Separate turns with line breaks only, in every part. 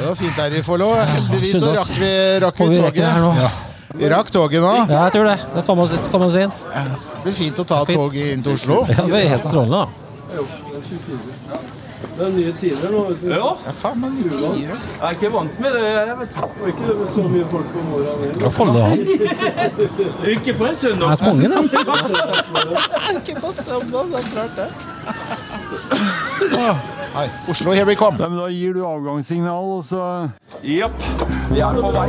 Det var fint her i Follo. Heldigvis så
Sunnaas.
rakk vi, rakk
Får
vi
vi rekke det her nå?
toget.
Ja,
Vi rakk toget nå.
jeg tror det. Da kom oss, kom oss inn.
Det blir fint å ta toget inn til Oslo.
Ja, det var helt strålende, da.
Det er nye tider nå. vet du.
Ja,
Ja, faen, men litt tidligere.
jeg er ikke vant med det. jeg vet
Det var ikke så mye folk på morgenen heller.
Ja, Follo havn.
Ikke på en
Det
søndag.
er kongen, ja.
Ikke på søndag, det er klart det. Hei, Oslo, here we come.
Nei, men da gir du avgangssignal, og så
Jepp. Vi er på vei.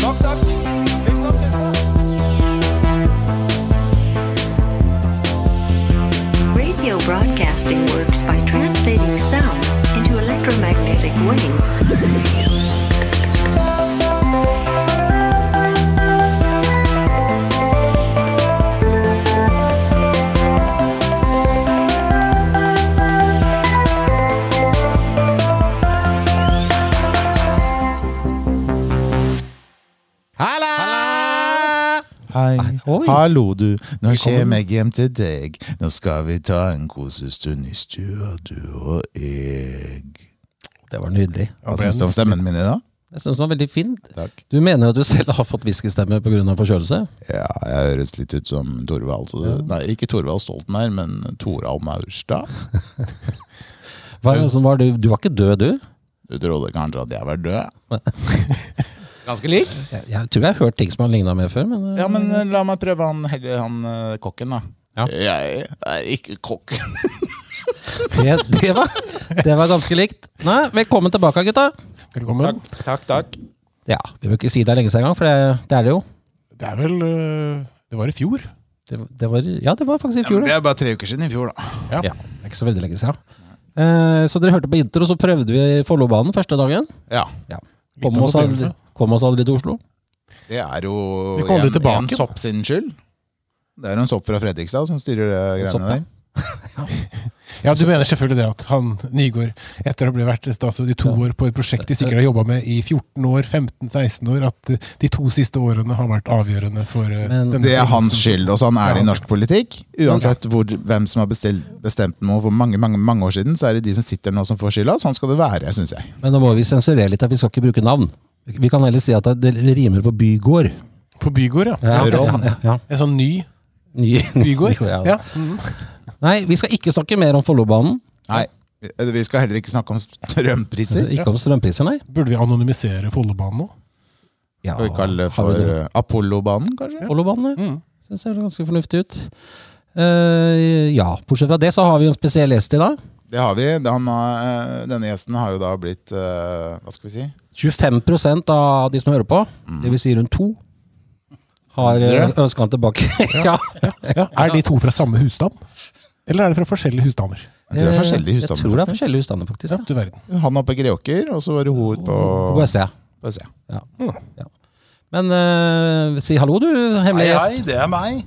Takk, takk. Vi snakkes.
Radio broadcasting works by translating sounds into electromagnetic waves.
Halla!
Hei.
Oi.
Hallo, du. Nå kommer jeg hjem til deg. Nå skal vi ta en kosestund i stua, du og jeg.
Det var nydelig.
Hva syns du om stemmen min i dag?
Jeg syns den var veldig fin.
Takk.
Du mener at du selv har fått whiskystemme pga. forkjølelse?
Ja, jeg høres litt ut som Torvald. så det- Nei, ikke Torvald Stoltenberg, men Torald Maurstad.
Hva er det som var du? du var ikke død, du?
Du trodde kanskje at jeg var død?
Ganske lik? Jeg, jeg tror jeg har hørt ting som har ligna med før, men eh,
Ja, men eh, la meg prøve han, heller han eh, kokken, da.
Ja.
Jeg er ikke kokken.
det, det, var, det var ganske likt. Nei, velkommen tilbake, gutta.
Velkommen.
Takk, takk.
Ja, Vi bør ikke si det er lenge siden engang, for det, det er det jo.
Det er vel øh, Det var i fjor.
Det, det var, ja, det var faktisk i
Ja, men
fjor.
det
Ja,
er bare tre uker siden i fjor, da.
ja.
ja, det er ikke så veldig lenge siden. Eh, så dere hørte på intro, så prøvde vi Follobanen første dagen.
Ja,
Ja.
Litt
Kom
av en
oss, aldri,
opplevelse.
kom oss aldri til Oslo.
Det er jo
Vi kom aldri
en,
tilbake,
en
da.
sopp sin skyld. Det er en sopp fra Fredrikstad som styrer det
sopp,
greiene
ja.
der.
ja, du mener selvfølgelig det at han Nygaard, etter å ha vært statsråd i to år på et prosjekt de sikkert har jobba med i 14 år, 15-16 år, at øh, de to siste årene har vært avgjørende for øh,
Men-
denne
Det er
Mm.
hans
prosessen.
skyld, og sånn er det i norsk politikk. Uansett hvor, hvem som har bestilt, bestemt noe for mange mange, mange år siden, så er det de som sitter nå som får skylda. Sånn skal det være, syns jeg.
Men nå må vi sensurere litt, her, vi skal ikke bruke navn. Vi kan heller si at det rimer på bygård.
På Bygård, ja.
Ja,
En
Rom.
sånn,
ja, ja.
en sånn ny
Ny-
Bygård.
ja.
Ja.
Nei, vi skal ikke snakke mer om Follobanen.
Nei, Vi skal heller ikke snakke om strømpriser.
Ikke om strømpriser, nei.
Burde vi anonymisere Follobanen nå?
Ja,
Skal vi kalle det
har vi
for Mm.
det?
eh, Apollobanen, kanskje?
Follobanen, ja. Syns jeg ser ganske fornuftig ut. Eh, ja, bortsett fra det så har vi jo en spesiell gjest i dag.
Det har vi. Han, har, eh, denne gjesten har jo da blitt eh, Hva skal vi si?
25 av de som hører på,
Mm.
det vil si rundt to, har ønska han tilbake. ja.
Ja. Er de to fra samme husstand? Eller er de fra forskjellige husstander?
Jeg tror det er forskjellige
Eh, Jeg tror det er
husstander. faktisk.
forskjellige husstander, faktisk.
Ja,
Ja.
du verden.
Han oppe i Greåker, og så var det hun ute på
På BSE.
på Østsida.
Ja. Ja. Men eh, si hallo, du, hemmelig
Hei,
gjest.
hei, det er meg.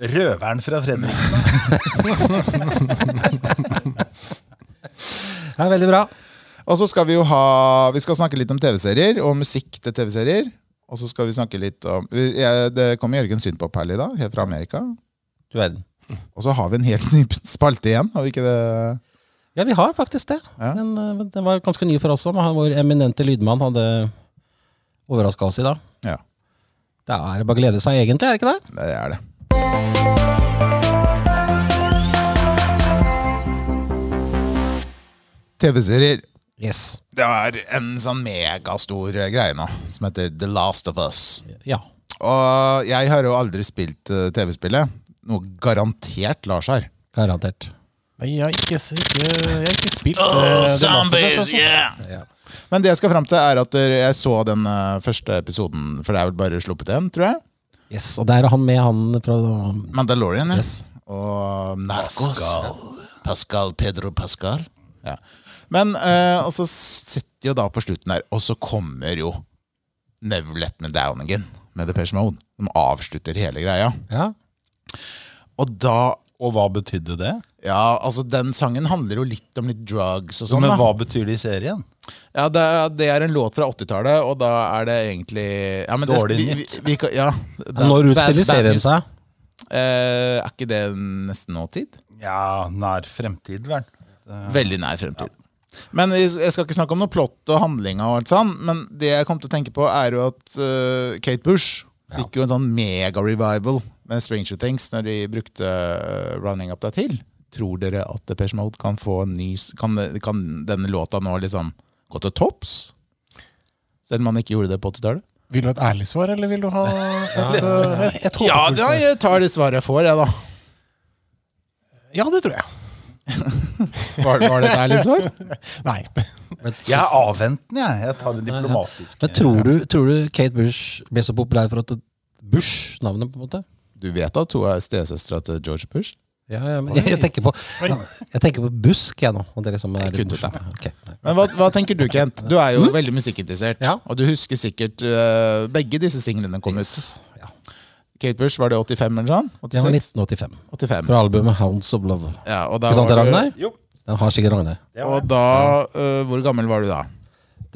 Røveren fra Fredrikstad.
Det er veldig bra.
Og så skal vi jo ha Vi skal snakke litt om TV-serier og musikk til TV-serier. Og så skal vi snakke litt om vi- jeg, Det kom Jørgen Sundpop her i dag, helt fra Amerika.
Du verden.
Og så har vi en helt ny spalte igjen, har vi ikke det?
Ja, vi har faktisk det.
Ja.
Den, eh, den var ganske ny for oss òg, men han- vår eminente lydmann hadde overraska oss i dag.
Ja,
Det er bare å glede seg, egentlig, er det ikke det?
det er det. TV-serier.
Yes.
Det er en sånn megastor greie nå, som heter The Last of Us.
Ja.
Og jeg har jo aldri spilt eh, TV-spillet. Noe garantert Lars har.
Garantert.
Nei, jeg har ikke, ikke, jeg har ikke spilt øh, The Last of Us, altså.
yeah! Men det jeg skal fram til, er at eh, jeg så den eh, første episoden, for det er vel bare sluppet en, tror jeg.
Yes, Og der er han med, han fra
Mandalorian, ja.
Yes.
Og Narcos. Pascal. Pedro Pascal. Ja. Men eh, og så sitter jo da på slutten der, og så kommer jo Never Let Me Down Again med Depeche Mode. De avslutter hele greia.
Ja.
Og da
Og hva betydde det?
Ja, altså den sangen handler jo litt om litt drugs og sånn.
Men
da.
hva betyr det i serien?
Ja, det, er- det er en låt fra 80-tallet, og da er det egentlig ja, men
Dårlig
det, vi,
nytt.
vi, vi, kan- ja,
Når
Bad-
utspiller
Bad
serien
News.
seg?
Eh, er ikke det nesten nåtid?
Ja, nær fremtid, vel.
Veldig nær fremtid. Men jeg jeg skal ikke snakke om noe plott og handlinga, og alt sånn, men det jeg kom til å tenke på, er jo at eh, Kate Bush fikk jo en sånn mega-revival med Stranger Things når de brukte eh, Running Up That Hill. Tror dere at Depeche Mode kan få en ny s- Kan, kan denne låta nå liksom gå til topps? Selv om man ikke gjorde det på 80-tallet?
Vil du ha et ærlig svar, eller vil du ha et, eh, et, et
Ja,
håpefullt
da,
svar?
jeg tar det svaret jeg får, jeg, da.
Ja, det tror jeg.
Var, var det liksom? et ærlig svar?
Nei.
Jeg er avventende, jeg. Jeg tar det diplomatiske.
Men tror du, tror du Kate Bush ble så populær for at det- Bush, navnet, på en måte?
Du vet at hun er stesøstera til George Bush?
Ja, ja, men jeg tenker på, jeg tenker på busk, jeg nå. Og det liksom er
Jeg kutter ut det.
Ok, nei.
Men hva, hva tenker du, Kent? Du er jo veldig musikkinteressert.
Mm? Ja.
Og du husker sikkert eh, begge disse singlene kom ut.
ja.
Kate Bush, var det 85 eller sånn?
Det var
86?
1985.
85.
Fra albumet Hounds of Love.
Ja, og da
Ikke sant,
var du-
Ragnar?
Jo.
Den har sikkert Ragnar.
Og da, eh, hvor gammel var du da?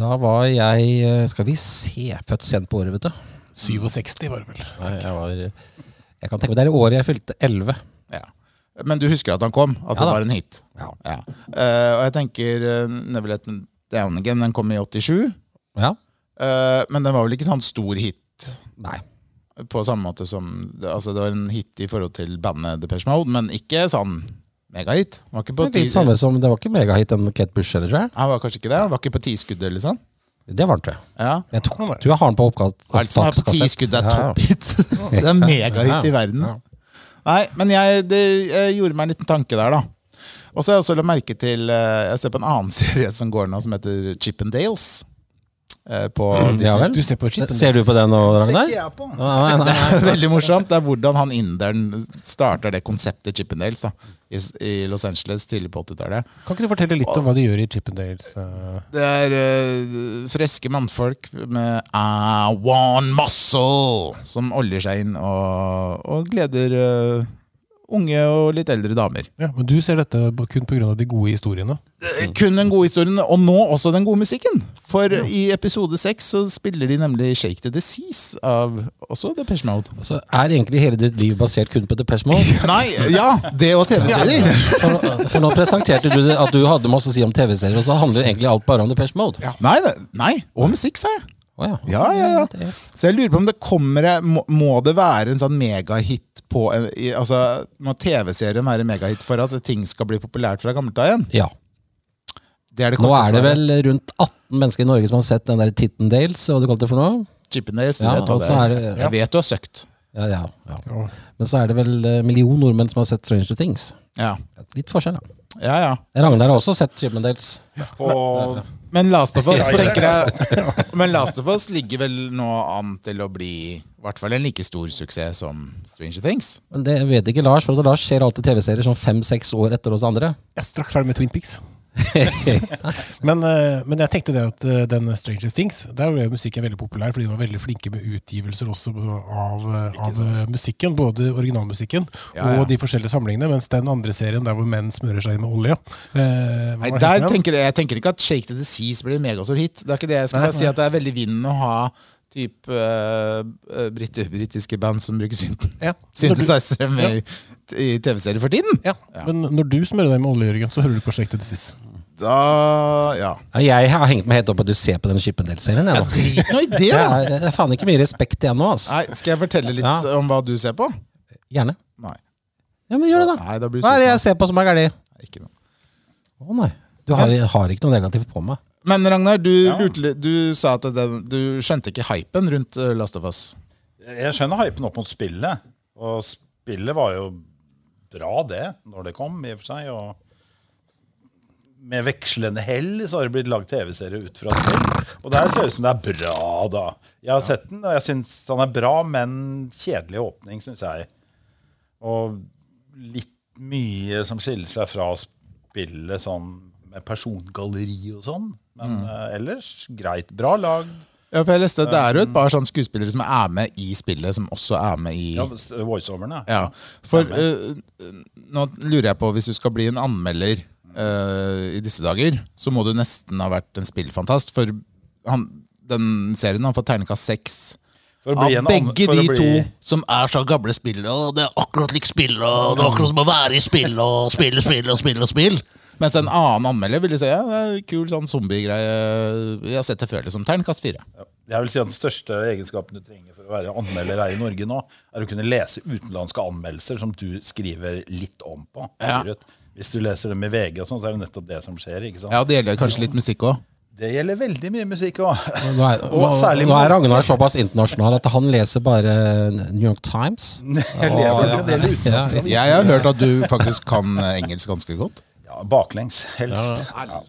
Da var jeg eh, Skal vi se Født sent på året, vet du.
67 var det vel.
Nei, jeg var Jeg kan tenke meg Det er i året jeg fylte 11.
Ja. Men du husker at han kom? At
Ja
det
da.
var en hit?
Ja.
Eh, og jeg tenker uh, Never Let Me Down Again, den kom i 87.
Ja?
eh, men den var vel ikke sånn stor hit
Nei.
på samme måte som Altså, det var en hit i forhold til bandet Depeche Mode, men ikke sånn megahit. Den Var ikke på
Det, er litt
ti-
samme som, det var ikke megahit, den Kate Bush heller, tror jeg.
Han var kanskje ikke det? Han var ikke på tiskuddet, liksom?
Det var den, tror jeg.
Ja.
Jeg tror, tror jeg har den på oppkast.
Alt som er på
opptakskassett.
tiskuddet, er
Ja, ja.
topphit. det er megahit i verden. Nei, men jeg, det, jeg gjorde meg en liten tanke der, da. Og så har jeg også lagt merke til eh, Jeg ser på en annen serie som går nå, som heter Chippendales. eh, På
Ja
Disney.
vel.
Du ser på chipen.
Ser du på den nå, Ragnar?
Sitter jeg på.
Nei, nei,
Det
nei.
er veldig morsomt. Det er hvordan han inderen starter det konseptet Chippendales da, i, s- i Los Angeles tidlig på 80-tallet.
Kan ikke du fortelle litt om hva de gjør i Chippendales? eh?
Det er eh, freske mannfolk med I want muscle som oljer seg inn og, og gleder eh, unge og litt eldre damer.
Ja, men du ser dette b- kun pga. de gode historiene.
Eh, Kun den gode historien, og nå også den gode musikken. For i episode seks så spiller de nemlig Shake the Disease av også Depeche Mode.
Så er egentlig hele ditt liv basert kun på Depeche Mode?
Nei, ja! Det og TV-serier.
For, for nå presenterte du det at du hadde masse å si om TV-serier, og så handler egentlig alt bare om Depeche Mode? Ja.
Nei, det- nei, og musikk, sa jeg.
Å, ja.
Ja, ja, ja.
Det er-
Så jeg lurer på om det kommer Må, må det være en sånn megahit på en, i, Altså, må TV-serien være megahit for at ting skal bli populært fra gammelt av igjen?
ja.
Det er det
Nå
korte
er det
svaret.
vel rundt 18 mennesker i Norge som har sett den der Tittendales, hva du kalte det for noe?
Chippendales, du
Ja,
vet hva
og
det
så
er.
er det-
Jeg vet du har søkt.
Ja, ja, ja. Men så er det vel eh, million nordmenn som har sett Stranger Things.
Ja,
Litt forskjell, ja.
ja. ja.
Ragnar har også sett Chippendales.
På
Men Last of Us tenker jeg Men Last of Us ligger vel nå an til å bli i hvert fall en like stor suksess som Stranger Things.
Men det vet ikke Lars, for at Lars ser alltid TV-serier sånn fem-seks år etter oss andre.
Jeg er straks ferdig med Twin Peaks. men, eh, men jeg tenkte det at eh, den Stranger Things, der ble musikken veldig populær, fordi de var veldig flinke med utgivelser også av, eh, av eh, musikken. Både originalmusikken
Ja, ja.
og de forskjellige samlingene. Mens den andre serien der hvor menn smører seg inn med olje eh, hva
Nei,
var det
der
het igjen?
tenker jeg, jeg tenker ikke at Shake the Disease blir en megastor hit. Det er ikke det. Jeg skal bare si at det er veldig vinden å ha typ eh, eh, britt, britiske band som bruker synten.
Ja.
synthesizere med i TV-serier for tiden.
Ja. Men når du smører deg med olje, Jørgen, så hører du på Shake the Disease.
Da Ja.
Ja, jeg har hengt meg helt opp på at du ser på den Chippendales-serien. jeg nå.
Drit nå i det,
Det
da!
er, det er faen ikke mye respekt igjen nå, altså.
Nei, skal jeg fortelle litt
Ja.
om hva du ser på?
Gjerne.
Nei.
Ja, men gjør det, da.
Nei, da blir du
Hva er det
sulten.
jeg ser på som er galt?
Nei, Ikke noe.
Å nei. Du har, har ikke noe negativt på meg.
Men Ragnar, du, lurte, litt- du sa at den, du skjønte ikke hypen rundt eh, Last of Us.
Jeg skjønner hypen opp mot spillet. Og spillet var jo bra, det, når det kom, i og for seg. Og med vekslende hell så har det blitt lagd TV-serie ut fra det. Og der ser det ut som det er bra, da. Jeg har sett den, og jeg syns den er bra, men kjedelig åpning, syns jeg. Og litt mye som skiller seg fra spillet sånn med persongalleri og sånn. Men
Mm.
eh, ellers greit. Bra lag.
Ja, for jeg leste at Det er jo et par sånne skuespillere som er med i spillet, som også er med i
Ja, voiceoverne.
Ja, for eh, eh, nå lurer jeg på Hvis du skal bli en anmelder eh, i disse dager, så må du nesten ha vært en spillfantast. For han, den serien har fått terningkast seks.
For å
Av
bli en an-
begge
for å
de
bli-
to som er så gamle spillere. Og det er akkurat lik spillet, og det er akkurat som å være i spillet og spille, spille og spille og spill. Mens en annen anmelder ville si ja, det er en kul sånn zombiegreie. Jeg har sett det før, liksom. Terningkast fire.
Ja. Jeg vil si at Den største egenskapen du trenger for å være anmelder her i Norge nå, er å kunne lese utenlandske anmeldelser som du skriver litt om på.
Ja.
Hvis du leser dem i VG, og sånn, så er det nettopp det som skjer. ikke sant?
Ja, Det gjelder kanskje litt musikk òg.
Det gjelder veldig mye musikk òg.
Nå er, nå, nå er Ragnar såpass internasjonal at han leser bare New York Times.
Jeg leser en del uten
Ja,
Jeg har hørt at du faktisk kan engelsk ganske godt.
ja, baklengs, helst. Ja.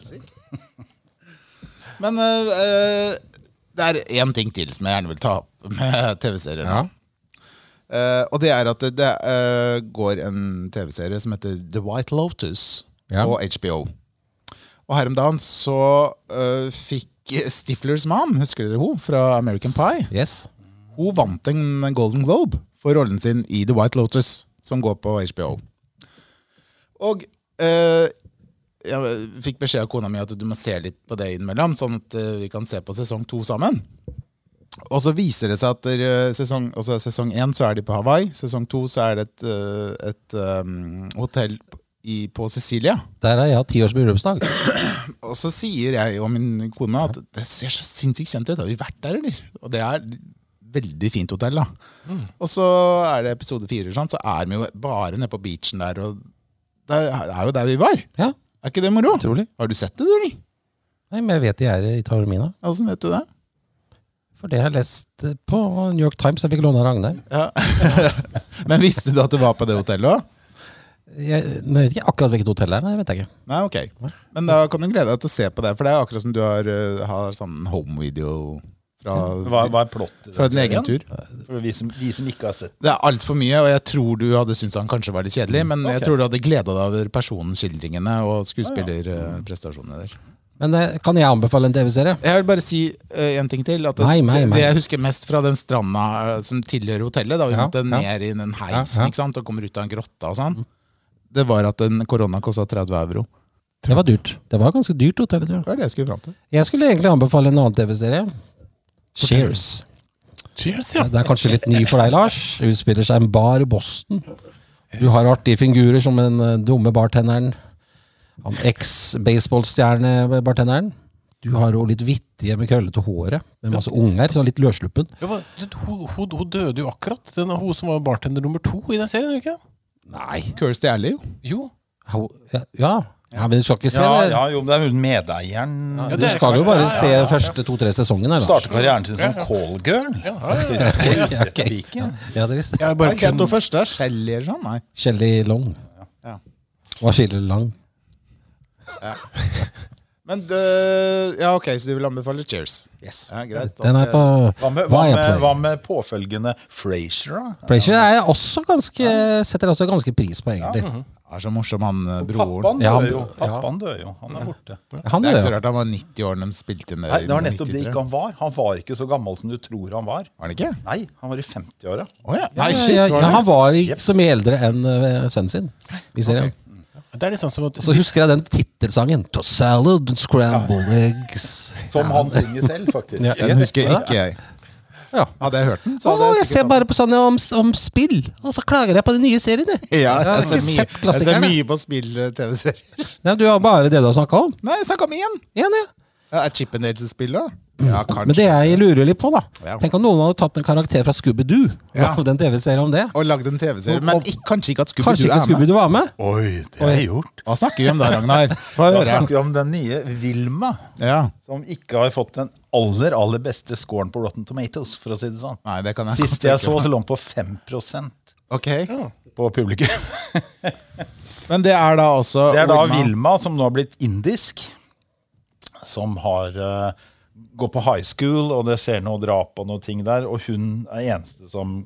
Men øh, øh, det er én ting til som jeg gjerne vil ta opp med TV-serier. nå. Eh, og det er at det, det eh, går en TV-serie som heter The White Lotus
Ja.
på HBO. Og her om dagen så eh, fikk Stiflers mam, husker dere hun, fra American Pie
Yes.
Hun vant en Golden Globe for rollen sin i The White Lotus, som går på HBO. Og eh, jeg fikk beskjed av kona mi at du må se litt på det innimellom, sånn at eh, vi kan se på sesong to sammen. Og så viser det seg at eh, sesong, altså sesong én så er de på Hawaii, sesong to så er det et, eh, et eh, hotell i, på Sicilia.
Der har jeg hatt tiårs bryllupsdag.
Og så sier jeg og min kone at det ser så sinnssykt kjent ut. Har vi vært der, eller? Og det er veldig fint hotell, da. Og så er det episode fire, sånn, så er vi jo bare nede på beachen der. Og det er det er jo der vi var.
Ja.
Er ikke det moro?
Utrolig.
Har du sett det, du, eller?
Nei, men jeg vet de er i Taormina.
Åssen vet du det?
For det har jeg lest på New York Times. Jeg fikk låne av Ragnar.
Men visste du at du var på det hotellet òg?
Jeg, nå vet jeg ikke akkurat hvilket hotell det er. Nei, vet jeg ikke.
Nei, ok. Men da kan du glede deg til å se på det, for det er akkurat som du har, eh, har sånn homevideo fra,
Hva, hva er plottet? i
fra
den
din egen
serien?
tur.
For vi som, vi som ikke har sett
Det er altfor mye, og jeg tror du hadde syntes han kanskje var litt
Mm.
kjedelig, men jeg
Ok.
tror du hadde gleda deg over personskildringene og skuespillerprestasjonene der.
Men eh, kan jeg anbefale en TV-serie?
Jeg vil bare si én ting til. At det,
Nei, nei, nei.
det jeg husker mest fra den stranda eh, som tilhører hotellet, da vi
Ja,
måtte
ja.
ned i den
Ja, ja.
heisen ikke sant, og kommer ut av en grotte og sånn, det var at en korona kosta 30 euro.
Det var dyrt. Det var ganske dyrt hotell, tror jeg.
Det var det jeg skulle fram til.
Jeg skulle egentlig anbefale en annen TV-serie. Cheers.
Cheers, ja.
Det er kanskje litt ny for deg, Lars. Utspiller seg en bar i Boston. Du har artige figurer som den eh, dumme bartenderen. Han Eks-baseballstjerne-bartenderen. Du har jo litt vittige med krøllete håret. Med masse unger, sånn litt løssluppen.
Ja, hva- det- hun, hun, hun døde jo akkurat. Den, hun som var bartender nummer to i den serien. ikke?
Nei
Kirsty Alley, jo.
Jo.
Au, Ja, ja. ja men du skal ikke se
ja,
det.
ja, jo, men det er hun medeieren.
Ja,
Du
det er
skal jo
kanskje-
bare
ja, ja,
se
ja, ja.
første to-tre sesongene. her, Lars.
Starter karrieren sin som callgirl, faktisk. Og
Ja,
rett
ok.
til piken.
Ja, det visste jeg.
Jeg har bare
Ikke
kun,
at hun første er Shelly eller sånn, nei.
Shelly Long.
Ja.
Hva skiller Lang?
Men det, Ja, ok, så du vil anbefale Cheers?
Yes.
Ja, greit. da
Den
skal
er
jeg-
på
Hva med, hva, med, hva med påfølgende Frasier, da?
Frasier er jeg også ganske, setter jeg også ganske pris på, egentlig.
Det er så morsom, han eh, broren.
Pappaen
Ja,
dør jo.
han- ja.
Pappaen dør jo. Han er borte.
Han
Det er
er
ikke
jo
så rart han var 90 år når de spilte inn det.
Nei,
i
det var nettopp
93.
det ikke han var. Han var ikke så gammel som du tror han var.
Var han ikke?
Nei, han var i 50-åra.
Å ja. Nei, shit.
ja,
var
ja,
det?
han var ikke
Jep.
så mye eldre enn eh, sønnen sin. Vi ser
Ok.
det.
det er litt sånn som at
Så husker jeg den tittelsangen. To salad and scrambled eggs.
Som han synger selv, faktisk.
Ja,
Den husker ikke jeg.
Ja.
Hadde jeg hørt den, så
Så
hadde
jeg
jeg
ser
sikkert
bare på sånne om, om spill, og så klager jeg på de nye seriene.
ja,
jeg har
jeg,
ikke
ser mye,
sett
jeg ser
klassikerne.
mye på eh, spill-TV-serier.
Nei, du har bare det du har snakka om.
Nei, snakk om én!
Ja, ja.
Ja, er Chippendales et spill, da? Ja,
Men det
kanskje.
jeg lurer litt på, da.
Ja.
Tenk om noen hadde tatt en karakter fra Scooby-Doo.
Ja.
Lagd en TV-serie om det.
Og lagd en TV-serie. Men ikk- kanskje ikke at Scooby-Doo
Kanskje ikke
er med.
Scooby-Doo var med?
Oi, det har jeg gjort.
Hva snakker vi om da, Ragnar? Få
Da
høre.
snakker vi om den nye Vilma,
Ja.
som ikke har fått den aller aller beste scoren på Rotten Tomatoes, for å si det sånn.
Nei, det kan jeg
Sist
godt
jeg
tenke
så,
meg.
så lå den på 5 på
Ok.
publikum.
Men det er da også
Det er da
Wilma.
Vilma, som nå har blitt indisk, som har eh, går på high school, og det skjer noe drap og noe ting der, og hun er eneste som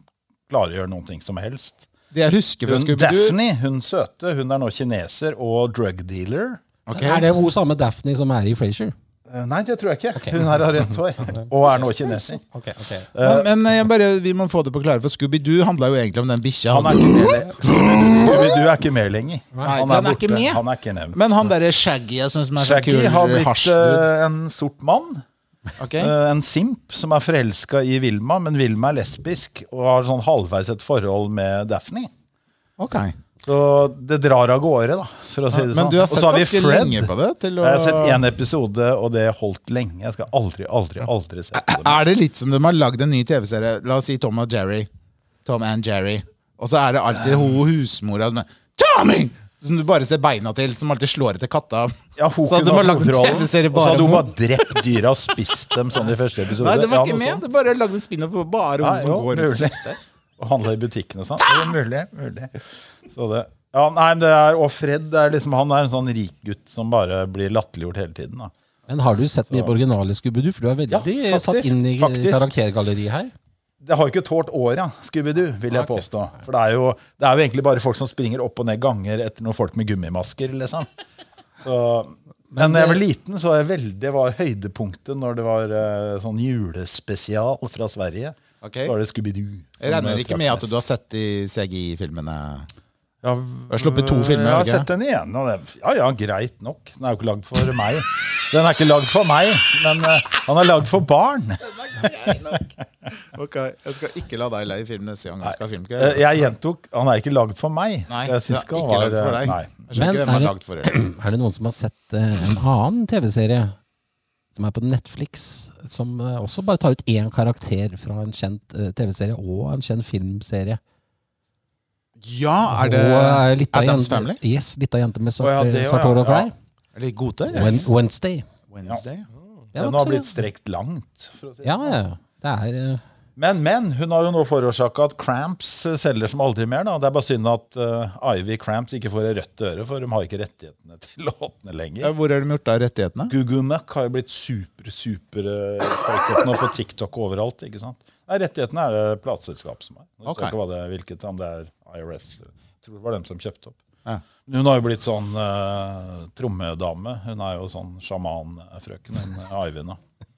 klarer å gjøre noen ting som helst.
Det jeg husker fra
Hun,
Scooby-Doo
Daphne, hun søte, hun er nå kineser og drug dealer.
Ok.
Er det hun samme Daphne som er i Frasier?
Eh, Nei, det tror jeg ikke. Hun her har rødt hår og er nå kineser.
Men, men eh, jeg bare, vi må få det på klare, for Scooby-Doo handla jo egentlig om den bikkja.
Han er ikke med lenger. Scooby-Doo er ikke med lenger. Han
han er ikke
borte.
med.
Han er ikke nevnt.
Men han derre Shaggy jeg synes, som er så
Shaggy
kul
har blitt
hasjdude.
eh, en sort mann.
Ok.
Eh, En simp som er forelska i Vilma, men Vilma er lesbisk og har sånn halvveis et forhold med Daphne.
Ok.
Så det drar av gårde, da, for å si det sånn.
Men du har
Og så
sett
vi
ganske
Fred.
lenge på det. Til å...
Jeg har sett én episode, og det holdt lenge. Jeg skal aldri, aldri, aldri se på det.
Er det litt som de har lagd en ny TV-serie? La oss si Tom og Jerry. Tom and Jerry. Og så er det alltid hun husmora som er, Tommy! Som du bare ser beina til, som alltid slår etter katta.
Ja, hun
så hadde de
kunne hatt
har lagd en
hovedrollen,
TV-serie
Og så
bare
hadde hun
om
bare drept dyra og spist dem sånn i første episode.
Nei, det var
Ja,
ikke
noe
med.
sånt.
Det bare lagde en spin-off på bare hun
Nei,
som
jo,
går rundt og
mulig.
kjefter.
Og handla i butikken og sånn. Ja, mulig, mulig. Så det, ja, nei, men det er, og Fred det er liksom, han er en sånn rik gutt som bare blir latterliggjort hele tiden. Da.
Men har du sett mye på originale Scooby-Doo? For du er veldig
Ja, faktisk,
satt inn i
faktisk.
karaktergalleriet her.
Det har jo ikke tålt året, ja, Scooby-Doo, vil jeg påstå. For det er, jo, det er jo egentlig bare folk som springer opp og ned ganger etter noen folk med gummimasker, liksom. Så, men da
eh,
jeg var liten, så var jeg veldig, det var høydepunktet når det var eh, sånn julespesial fra Sverige.
Ok.
Da var det Scooby-Doo.
Jeg regner ikke med at du har sett de CGI-filmene. Du har sluppet to filmer.
Jeg
har
har
du ikke?
sett den igjen. Og det, ja, ja, greit nok. Den er jo ikke lagd for meg. Den er ikke lagd for meg, men eh, han er lagd for barn.
Ok, Jeg skal ikke la deg leie film neste gang. Jeg skal ha filmkveld.
Eh, Jeg gjentok han er ikke lagd for meg.
Nei,
Så jeg synes
den er
ikke han
ikke
var,
lagd for
eh,
deg.
Nei.
Jeg skjønner
Men
ikke hvem
er
han er
det-
lagd for. eller?
Er det noen som har sett eh, en annen TV-serie som er på Netflix, som eh, også bare tar ut én karakter fra en kjent eh, TV-serie og en kjent filmserie?
Ja, er det
og eh, litt av
Adams
jente-
Family?
Yes, litt av jente med svart,
Å, ja, det, ja,
svart hår og
ja.
klær.
Er det gode?
Wen- Wednesday.
Wednesday?
Ja,
Den har
også-
blitt strekt langt. For å si. det.
Ja, ja. Det er eh,
Men, men hun har jo nå forårsaka at Cramps eh, selger som aldri mer. Da. Det er bare synd at eh, Ivy Cramps ikke får et rødt øre, for de har ikke rettighetene til å åpne
Ja,
lenger.
hvor har de gjort av rettighetene?
Google Muck har jo blitt super, super eh, folket nå på TikTok og overalt. ikke sant? Nei, Rettighetene er det plateselskap som har. Jeg
Ok.
vet ikke hva det er, hvilket, om det er IRS. Jeg tror det var dem som kjøpte opp.
Ja.
Men Hun har jo blitt sånn eh, trommedame. Hun er jo sånn sjamanfrøken, hun eh, Ivy. nå.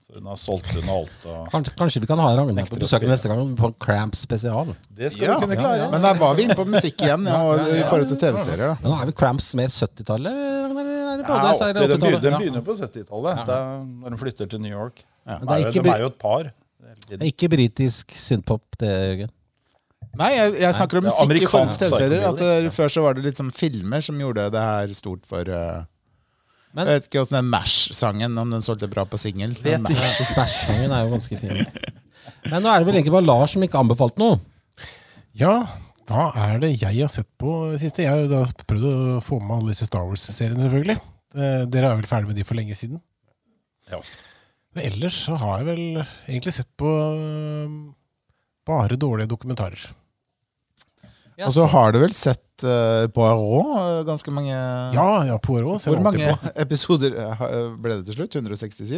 Så hun har solgt unna alt. Og
kanskje, kanskje vi kan ha Ragnar på
Nekter å
besøk
spille.
neste gang på en Cramp spesial.
det skal
Ja,
du kunne klare.
Men der var vi inne på musikk igjen, ja, og i forhold til TV-serier. da
Men nå er vel Cramps mer 70-tallet? Ragnar, eller er det
Ja,
både- så er det
80, den, begynner,
80-tallet?
den
Ja.
begynner på 70-tallet, det er når de flytter til New York.
Men
Det
det
er,
er
jo-
ikke,
de er
bri-
jo et par. hele
det
tiden.
er ikke britisk synthpop, det, Jørgen.
Nei, jeg, jeg snakker om
det er
musikk i forhold
amerikansk
til TV-serier. At
psychedelic,
det- Før så var det litt sånn filmer som gjorde det her stort for eh,
Men-
Jeg vet ikke åssen den Mash-sangen, om den solgte bra på singel.
Vet
Men-
ikke.
Bæsjsangen er jo ganske fin. Men nå er det vel egentlig bare Lars som ikke anbefalte noe.
Ja, hva er det jeg har sett på siste? Jeg har jo da prøvd å få med alle disse Star Wars-seriene, selvfølgelig. Eh, Dere er vel ferdig med de for lenge siden?
Ja.
Men ellers så har jeg vel egentlig sett på eh, bare dårlige dokumentarer.
Og
Altså,
så har du vel sett eh, Poirot eh, ganske mange
Ja, ja, Poirot ser
Hvor
jeg alltid
mange
på.
episoder eh, ha- ble det til slutt? 167?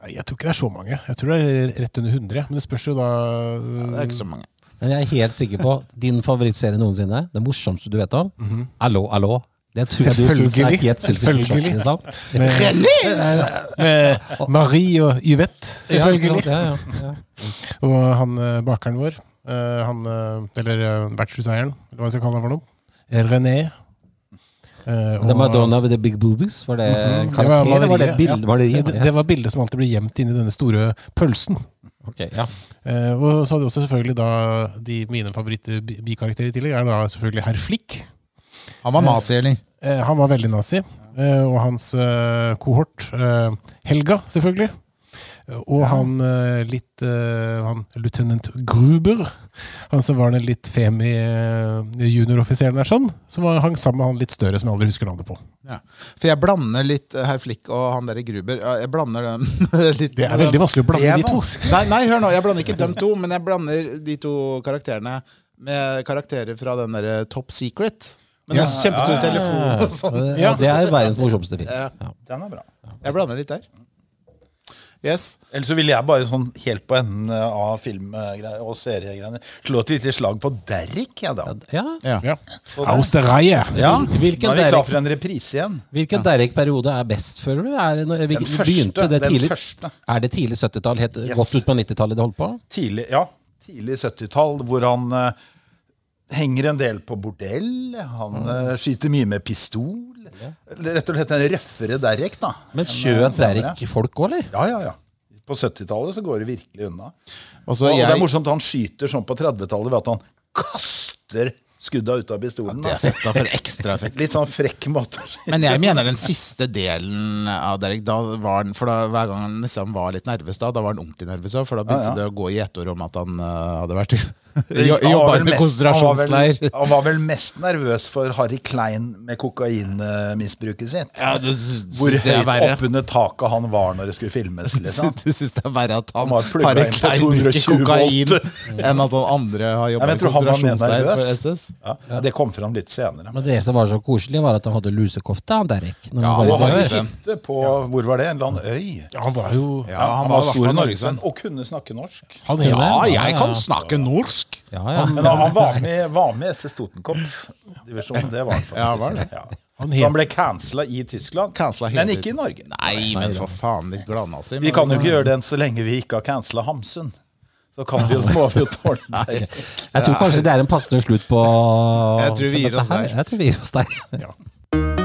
Nei, jeg tror ikke det er så mange. Jeg tror det er rett under 100. Men det spørs jo da eh,
Det er ikke så mange.
Men jeg er helt sikker på din favorittserie noensinne, det morsomste du vet om, Allo, allo. Det tror jeg du syns er
Mhm. Selvfølgelig.
helt sinnssykt morsomt.
Selvfølgelig.
liksom.
Med Marie og Yvette, selvfølgelig.
Ja, ja, ja.
Og han eh, bakeren vår, eh, han, eh, eller eh, vertshuseieren, eller hva jeg skal kalle han for noe, René. Eh,
Det
og-
var Madonna with the big boobies. Var det en
Mhm. Det var
karakter? eller var det et
maleriet,
bilde?
ja.
Var det,
Det, det var bildet som alltid ble gjemt inni denne store pølsen.
Ok, ja.
Eh, og så hadde vi også selvfølgelig da de mine favoritt-bikarakterer i tillegg, er da selvfølgelig herr Flick.
Han var nazi, eller?
Eh, han var veldig nazi. Eh, og hans eh, kohort, eh, Helga, selvfølgelig. Eh, Og han eh, litt eh, han, Lieutenant Gruber, han som var den litt femi eh, junioroffiseren der, sånn, som var, hang sammen med han litt større, som jeg aldri husker navnet på.
Ja. For jeg blander litt eh, herr Flick og han der i Gruber. Ja, Jeg blander den litt.
Det er veldig vanskelig å blande
Det er
de to.
vanskelig. Nei, nei, hør nå, jeg blander ikke dem to, men jeg blander de to karakterene med karakterer fra den derre Top Secret. Men den kjempestore
Ah.
telefonen og sånn.
Ja, Det er verdens morsomste film.
Ja.
Ja.
Den er bra.
Jeg blander litt der. Yes.
Eller så ville jeg bare sånn helt på enden eh, av film eh, og seriegreiene slå et lite slag på Derrick, jeg, da.
Ja.
Ja.
Ja. Austereie!
Ja,
Hvilken
Da er vi
Derrick?
klar for en reprise igjen.
Hvilken Derek-periode er best, føler du? Er det, når,
Den
hvilken-
første,
begynte det
den
tidlig,
første.
Er det tidlig 70-tall? Helt
Yes.
godt ut på 90-tallet det holdt på?
Tidlig, ja, tidlig 70-tall, hvor han eh, henger en del på bordell. Han eh, skyter mye med pistol. Rett og slett en røffere Derrick, da.
Men
En,
skjøt
eh, senere.
Derek folk òg, eller?
Ja, ja, ja. På 70-tallet så går det virkelig unna.
Og så
og det er
jeg,
morsomt, han skyter sånn på 30-tallet ved at han kaster skudda ut av pistolen.
Det er
da.
fett da, for ekstra fett.
Litt sånn frekk måte å si
Men jeg mener den siste delen av Derek, da var den, for da, hver gang han liksom var litt nervøs, da, da var han ordentlig nervøs òg, for da begynte
Ja, ja.
det å gå i gjetord om at han eh, hadde vært
Det
jo-
gikk- han var
jobba
vel
med
mest- han var vel-
konsentrasjonsleir.
Han var vel mest nervøs for Harry Klein med kokainmisbruket sitt.
Ja, det syns
Hvor
det er
høyt
verre.
oppunder taket han var når det skulle filmes. liksom.
Du syns det er verre at han
Han har plugget
har en klein
inn på
bruk i
220
kokain
volt.
enn at han andre har
Ja,
jobba
men
med
jeg tror han var mer
konsentrasjonsleir på
nervøs.
SS.
Ja, ja, det kom fram litt senere.
Men det som var så koselig, var at han hadde lusekofte, han Derek. Når
Ja,
han bare
Han
han
var
sa,
har- Norgesvenn.
en hytte på Hvor var det? En eller annen øy?
Ja, han var jo
Ja, han var i hvert fall norgesvenn.
og kunne snakke norsk.
han ene.
Ja,
ja.
jeg kan snakke norsk!
ja, ja.
Men han, han var med, var med SS Totenkopf-divisjonen. Det var han faktisk.
Ja, var det?
Ja.
Han
Han,
het-
ble cancela i Tyskland,
Cancela hele
men ikke i
tiden.
Norge.
Nei, men for faen, ditt gladnazi.
Vi kan jo ikke gjøre den så lenge vi ikke har cancela Hamsun. Så kan vi jo, må vi jo tåle det.
Jeg tror kanskje det er en passende slutt på
Jeg tror vi gir oss
dette her.
der.
Jeg tror vi gir oss der.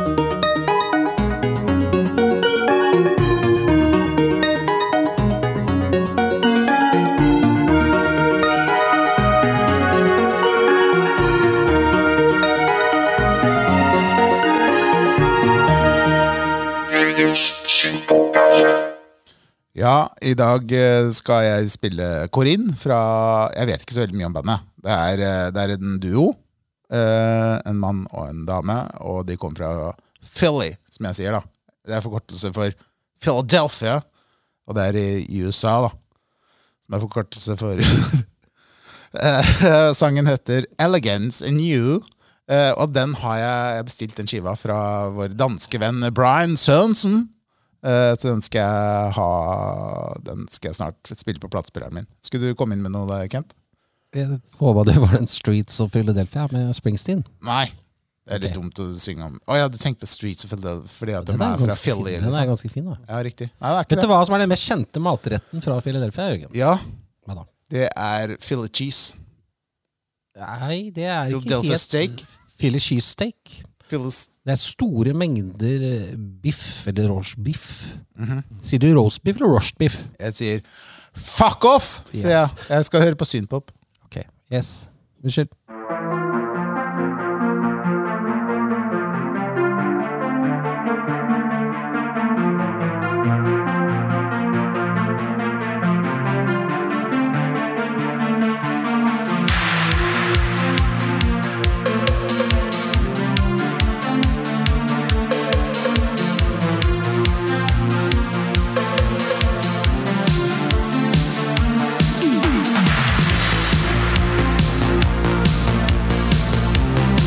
Ja, i dag eh, skal jeg spille Corinne fra Jeg vet ikke så veldig mye om bandet. Det er, eh, det er en duo. eh, En mann og en dame. Og de kommer fra Philly, som jeg sier, da. Det er forkortelse for Philadelphia. Og det er i i USA, da. Som er forkortelse for Eh, Sangen heter 'Elegance in You'. eh, og den har jeg bestilt en skive av fra vår danske venn Brian Sørensen. Eh, Så den skal jeg ha Den skal jeg snart spille på platespilleren min. Skulle du komme inn med noe da, Kent?
Jeg håpa det var den Streets of Philadelphia med Springsteen.
Nei. Det er litt
Ok.
dumt å synge om. Å, jeg hadde tenkt på Streets of Philadelphia fordi at de
Den er
er fra
ganske fin,
Philly.
den er
Liksom.
ganske fin da.
Ja, riktig. Nei, det er
Vet
ikke
du
det.
hva som er den mest kjente matretten fra Philadelphia, Jørgen?
Ja,
Hva da?
det er Philly cheese.
Nei, det er ikke
Philadelphia
helt
steak.
Philly cheesesteak.
Philly s-
Det er store mengder eh, biff, eller roastbiff. Sier du roastbiff eller roastbiff?
Jeg sier fuck off! sier
Yes.
jeg. Jeg skal høre på synpop.
Ok, yes. Unnskyld.
Thank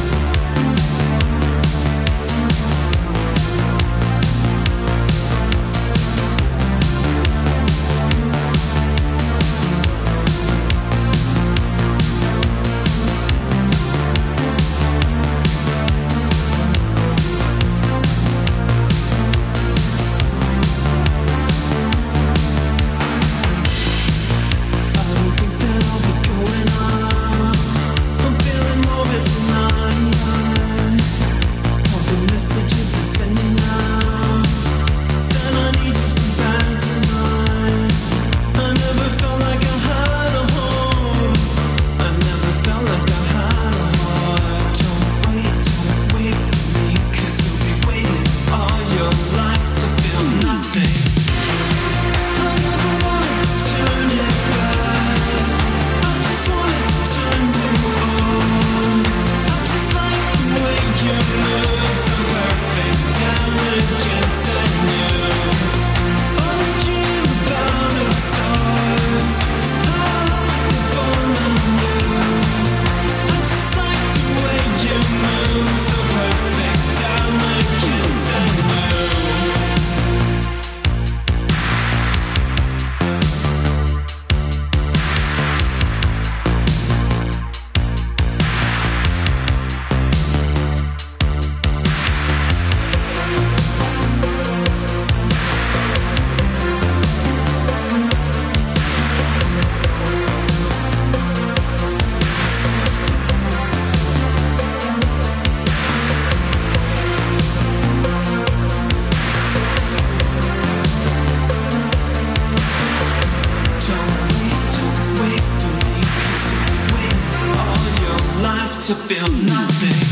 to feel nothing.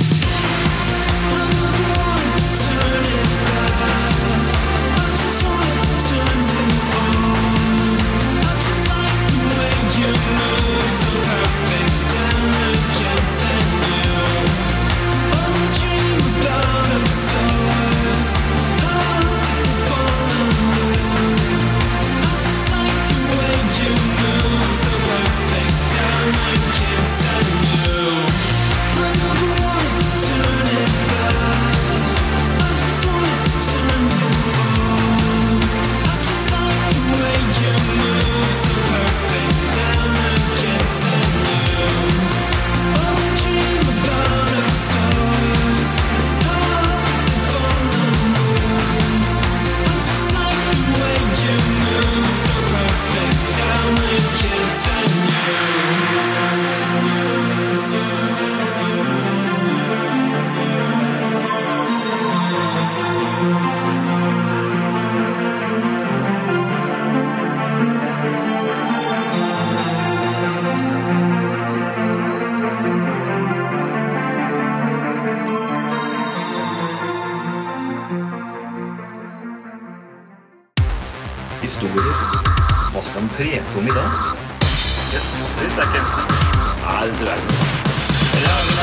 Historier. Hva skal han preke om i dag? Yes, visst er ikke Nei, det tror jeg ikke.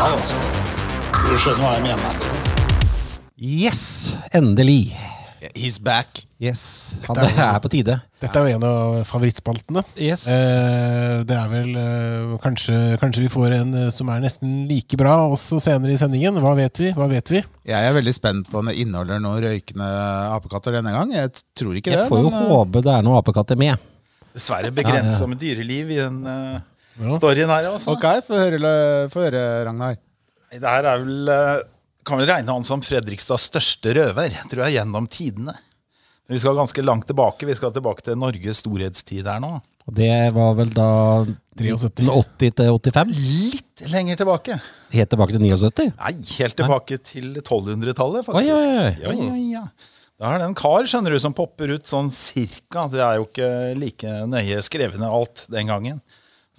Ja, altså. Du skjønner hva jeg mener. Liksom.
Yes! Endelig.
He's back.
Yes. Han, det er på tide.
Dette er jo en av favorittspaltene.
Yes.
Eh, det er vel eh, kanskje, kanskje vi får en eh, som er nesten like bra også senere i sendingen. Hva vet vi? Hva vet vi?
Jeg er veldig spent på om det inneholder noen røykende apekatter denne gang. Jeg tror ikke det.
Jeg får jo
men, eh,
håpe det er noen apekatter med.
Dessverre begrensa med dyreliv i den eh, storyen her. Altså.
Ok, få høre, få høre, Ragnar.
Det her er vel eh, Kan vel regne han som Fredrikstads største røver, tror jeg, gjennom tidene. Men Vi skal ganske langt tilbake. Vi skal tilbake til Norges storhetstid her nå.
Og det var vel da 1980 til 85?
Litt lenger tilbake.
Helt tilbake til 79?
Nei, helt tilbake til 1200-tallet,
Oi,
faktisk.
oi, oi.
Ja, ja, ja. Da er det en kar skjønner du, som popper ut sånn cirka. Det er jo ikke like nøye skrevet ned alt den gangen.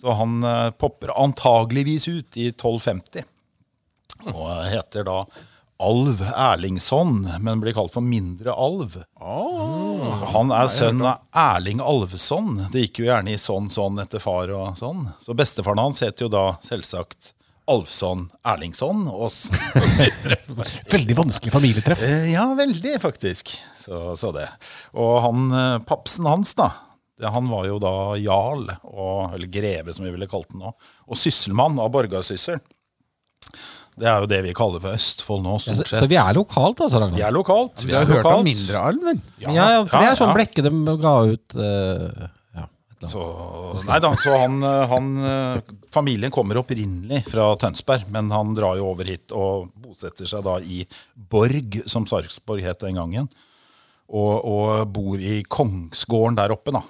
Så han eh, popper antageligvis ut i 1250. Og heter da Alv Erlingsson, men blir kalt for Mindre Alv.
Ah,
Han er sønn av Erling Alvesson. Det gikk jo gjerne i sånn, sånn etter far og sånn. Så bestefaren hans heter jo da selvsagt Alvsson Erlingsson. Og s-
Veldig vanskelig familietreff.
Eh, ja, veldig, faktisk. Så, så det. Og han eh, papsen hans, da. det- Han var jo da jarl, og, eller greve som vi ville kalt den nå, og sysselmann av borgarsyssel. Det er jo det vi kaller for Østfold nå,
Så,
stort
så
sett.
vi er lokalt, altså,
Vi
Ragnar?
er lokalt.
Du har hørt om mindre alv, vel?
Ja, ja, for det er sånn
ja.
blekke de ga ut eh, ja, et eller annet.
Så, nei da, så han, eh, han eh, Familien kommer opprinnelig fra Tønsberg, men han drar jo over hit og bosetter seg da i Borg, som Sarpsborg het den gangen. Og, og bor i kongsgården der oppe, da.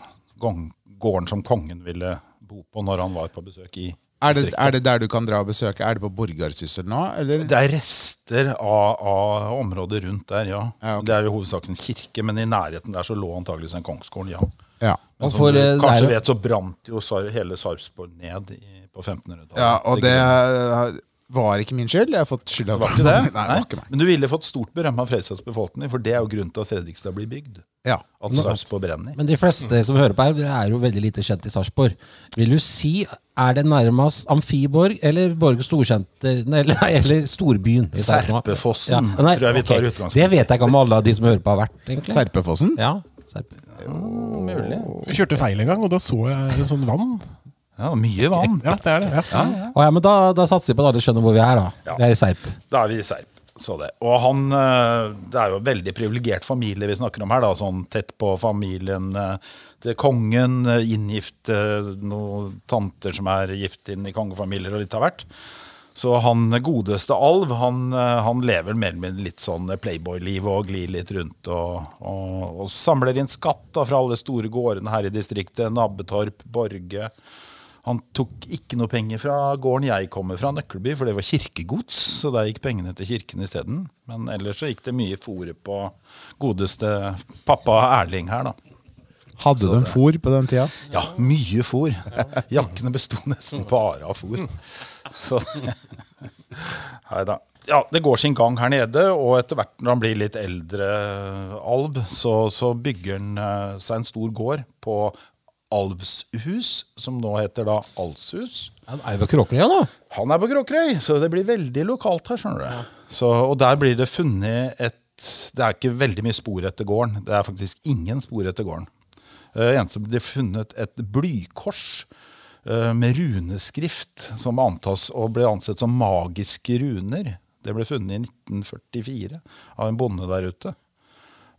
Gong- Gården som kongen ville bo på når han var på besøk i
Er det,
distriktet.
er det der du kan dra og besøke? Er det på Borgarsyssel nå? Eller?
Det er rester av, av området rundt der, ja.
Ja, ok.
Det er jo hovedsaken kirke, men i nærheten der så lå antageligvis en kongsgård, ja.
Ja.
Men
Og
som
for,
du
eh,
Altså, sånn kanskje
det er jo-
vet, så brant jo Sar hele Sarpsborg ned i, på 1500-tallet.
ja, og det
Det var
eh, var ikke min skyld. Jeg har fått skylda for
ikke det?
Nei, det var ikke meg.
Men du ville fått stort berøm av Fredriksstads befolkning, for det er jo grunnen til at Fredrikstad blir bygd.
Ja.
At Sarpsborg brenner.
Men de fleste som hører på her, er jo veldig lite kjent i Sarpsborg. Vil du si er det nærmest Amfiborg eller Borg Storsenter nei, eller, eller storbyen? i Sarpsborg?
Serpefossen,
nei,
tror jeg vi tar
ok.
utgangspunkt i.
Det vet jeg ikke om alle av de som hører på, har vært, egentlig.
Serpefossen?
Ja, Serp.
Jeg kjørte feil en gang, og da så jeg sånn vann.
Ja, mye vann.
Ja, det er det. Ja.
Å, ja, men da, da satser vi på at alle skjønner hvor vi er, da.
Ja.
Vi er i Serp.
Da er vi i Serp. Så det. Og han eh, Det er jo en veldig privilegert familie vi snakker om her. da, sånn Tett på familien eh, til kongen. eh, Inngift eh, noen tanter som er gift inn i kongefamilier og litt av hvert. Så han eh, godeste Alv, han, eh, han lever mer med litt sånn playboy-liv og glir litt rundt. Og, og, og samler inn skatt da fra alle store gårdene her i distriktet. Nabbetorp, Borge Han tok ikke noe penger fra gården jeg kommer fra, Nøkkelby, for det var kirkegods. Så der gikk pengene til kirken isteden. Men ellers så gikk det mye fòret på godeste pappa Erling her, da.
Hadde de fôr på den tida?
Ja, mye fôr. Jakkene besto nesten bare av fôr. Så Nei da. Ja, det går sin gang her nede, og etter hvert når han blir litt eldre alv, så, så bygger han eh, seg en stor gård på Alvshus, som nå heter da Alshus.
Han er jo på Kråkerøya nå!
Han er på Kråkerøy, så det blir veldig lokalt her, skjønner du. Så, og der blir det funnet et Det er ikke veldig mye spor etter gården. Det er faktisk ingen spor etter gården. Uh, eneste ble det funnet et blykors eh, med runeskrift som antas å bli ansett som magiske runer. Det ble funnet i 1944 av en bonde der ute.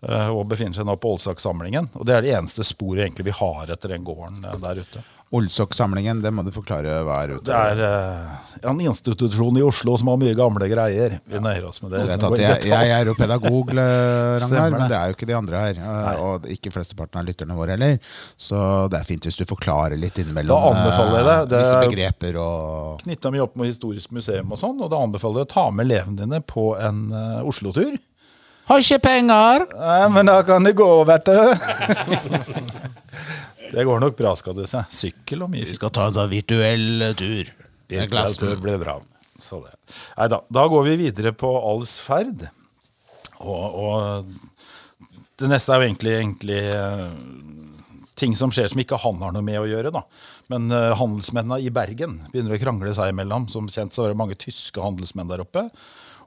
eh, og befinner seg nå på Ålsaksamlingen. Og det er det eneste sporet egentlig vi har etter den gården eh, der ute.
Olsok-samlingen, det må du forklare hva er ute.
Det er eh, en institusjon i Oslo som har mye gamle greier. Vi nøyer oss med det.
Du vet at jeg, jeg er jo pedagog, eh,
Stemmer
Ragnar,
det.
men det er jo ikke de andre her. eh, Og ikke flesteparten av lytterne våre heller. Så det er fint hvis du forklarer litt innimellom
Da anbefaler jeg
eh,
det. Det
visse
er-
begreper og
knytta mye opp med historisk museum og sånn, og da anbefaler jeg å ta med elevene dine på en eh, Oslo-tur.
Har ikke penger!
Nei, men da kan det gå, vet du. det går nok bra, skal du se. Sykkel og mye
Vi
fisk.
skal ta en sånn virtuell eh, tur. Med
Glasstur
glassen.
blir bra. Så det. Nei da. Da går vi videre på Alvs ferd. Og, og det neste er jo egentlig, egentlig eh, ting som skjer som ikke han har noe med å gjøre. da. Men eh, handelsmennene i Bergen begynner å krangle seg imellom. Som kjent så var det mange tyske handelsmenn der oppe.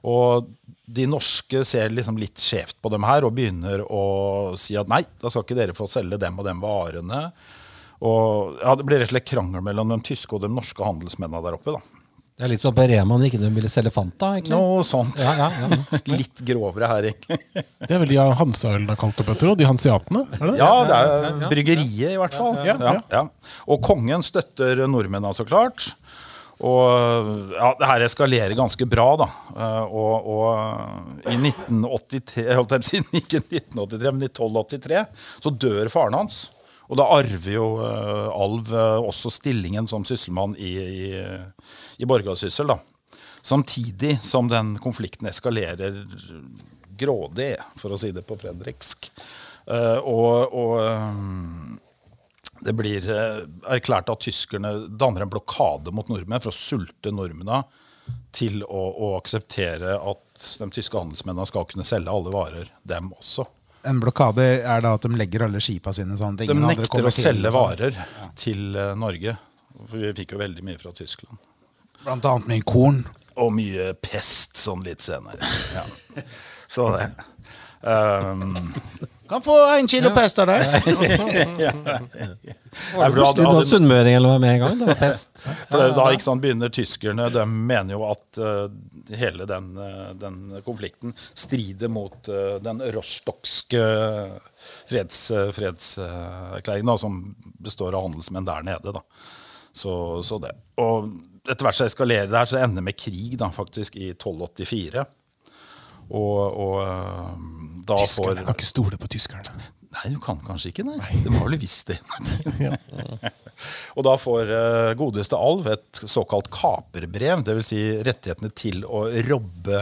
Og de norske ser liksom litt skjevt på dem her og begynner å si at nei, da skal ikke dere få selge dem og dem varene. Og ja, Det blir rett og slett krangel mellom de tyske og de norske handelsmennene der oppe. da.
Det er litt som på Rema når ikke de ville selge Fanta, egentlig.
Noe sånt.
Ja, ja, ja.
Litt grovere her, egentlig.
Det er vel de Hansaølen har kalt opp etter, og de hanseatene? Er det det?
Ja, det er bryggeriet, i hvert fall. Ja,
ja.
ja. Og kongen støtter nordmennene, så klart. Og ja, det her eskalerer ganske bra, da. Eh, Og, og i 1983, jeg holdt jeg på å si, ikke 1983, men i 1283, så dør faren hans. Og da arver jo eh, Alv eh, også stillingen som sysselmann i, i, i Borgarsyssel, da. Samtidig som den konflikten eskalerer grådig, for å si det på fredriksk. Eh, og og eh, det blir eh, erklært at tyskerne danner en blokade mot nordmenn for å sulte nordmennene til å, å akseptere at de tyske handelsmennene skal kunne selge alle varer, dem også.
En blokade er da at de legger alle skipa sine sånn at
De
ingen andre
nekter
kommer
å
til,
selge
sånn.
varer til eh, Norge. For vi fikk jo veldig mye fra Tyskland.
Blant annet mye korn.
Og mye pest sånn litt senere. Ja. Så det. Um,
Kan få en kilo pest av deg.
Nei, for du hadde-
Plutselig da
hadde-
sunnmøringen lå med en gang. Det var pest.
For det, er jo da ikke sant, begynner tyskerne, de mener jo at eh, hele den, eh, den konflikten strider mot eh, den rostockske fredserklæringen, freds, eh, erklæringen da, som består av handelsmenn der nede. Da. Så, så det. Og etter hvert så eskalerer det her, så det ender med krig da, faktisk i 1284. Og, og eh, da får
Tyskerne kan ikke stole på tyskerne.
Nei, du kan kanskje ikke, nei. Det var vel visst det. og da får eh, godeste Alv et såkalt kaperbrev, dvs. Si rettighetene til å robbe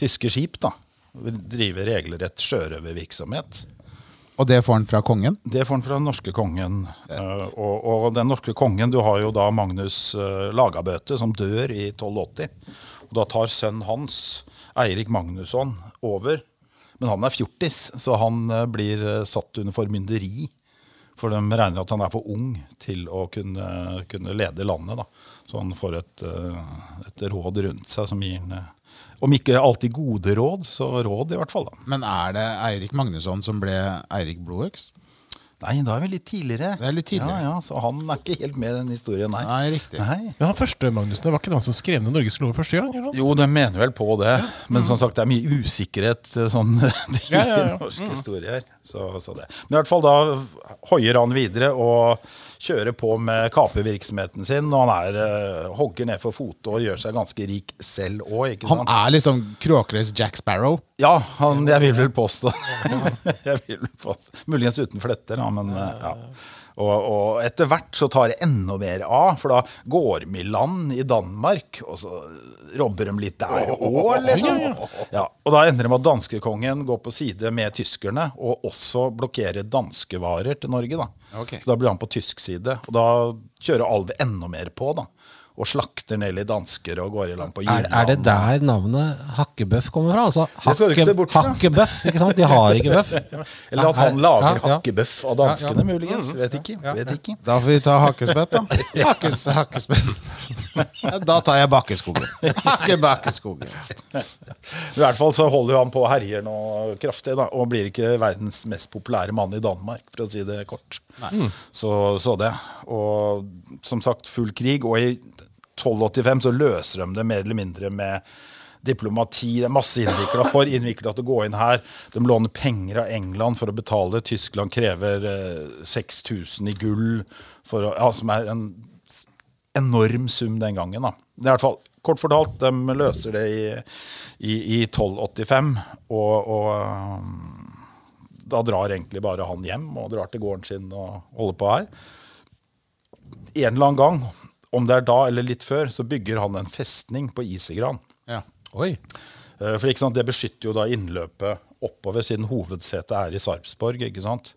tyske skip. da. Drive regelrett sjørøvervirksomhet.
Og det får han fra kongen.
Det får han fra den norske kongen. eh, Og, og den norske kongen, du har jo da Magnus eh, Lagabøte, som dør i 1280. Og da tar sønnen hans, Eirik Magnusson, over. Men han er fjortis, så han eh, blir eh, satt under formynderi. For de regner at han er for ung til å kunne, kunne lede landet. Da. Så han får et, eh, et råd rundt seg som gir han eh, Om ikke alltid gode råd, så råd i hvert fall. Da.
Men er det Eirik Magnusson som ble Eirik Blodøks?
Nei, da er vi litt tidligere.
Det er litt tidligere.
Ja, ja, Så han er ikke helt med i den historien, nei.
Nei, riktig.
Nei.
Men han første, Magnussen, var ikke det han som skrev ned Norges lov første gang? Eller? noe?
Jo, de mener vel på det, men som sagt, det er mye usikkerhet eh, sånn, i
Ja, ja, ja.
norsk historie her. Så, så det. Men i hvert fall da hoier han videre og kjører på med kapervirksomheten sin. Og han er, eh, hogger ned for fote og gjør seg ganske rik selv òg.
Han er liksom Kråkerøys Jack Sparrow.
Ja, han, jeg vil vel påstå. jeg vil vel påstå. Muligens uten fletter, da, men eh, ja. Og, og etter hvert så tar det enda mer av, for da går de i land i Danmark, og så robber de litt der òg, liksom. Ja, og da ender det med at danskekongen går på side med tyskerne, og også blokkerer danskevarer til Norge, da.
Ok.
Så da blir han på tysk side, og da kjører Alve enda mer på, da. Og slakter ned litt dansker og går i land på
Er,
Jylland.
er det der navnet hakkebøff kommer fra? Altså,
Det skal du ikke se bort fra.
hakkebøff, ikke sant? De har ikke bøff.
Eller at
Er-
han lager
ja, Mm, ja.
hakkebøff av danskene, muligens. Vet ikke. Vet ikke.
Da får vi ta hakkespett, da. Hakkes, hakkespett. Da tar jeg bakkeskogen. Hakke bakkeskogen.
I hvert fall så holder jo han på og herjer nå kraftig, da, og blir ikke verdens mest populære mann i Danmark, for å si det kort. Så, så det. Og som sagt, full krig. Og i 1285 så løser de det mer eller mindre med diplomati. Det er masse innvikla for innvikla til å gå inn her. De låner penger av England for å betale. Tyskland krever eh, 6000 i gull, for å, ja, som er en enorm sum den gangen. Da. Det er i hvert fall, kort fortalt, de løser det i, i, i 1285. Og, og um, da drar egentlig bare han hjem og drar til gården sin og holder på her. En eller annen gang, om det er da eller litt før, så bygger han en festning på Isegran.
Ja.
Oi.
Eh, For ikke sant, Det beskytter jo da innløpet oppover, siden hovedsetet er i Sarpsborg. ikke sant?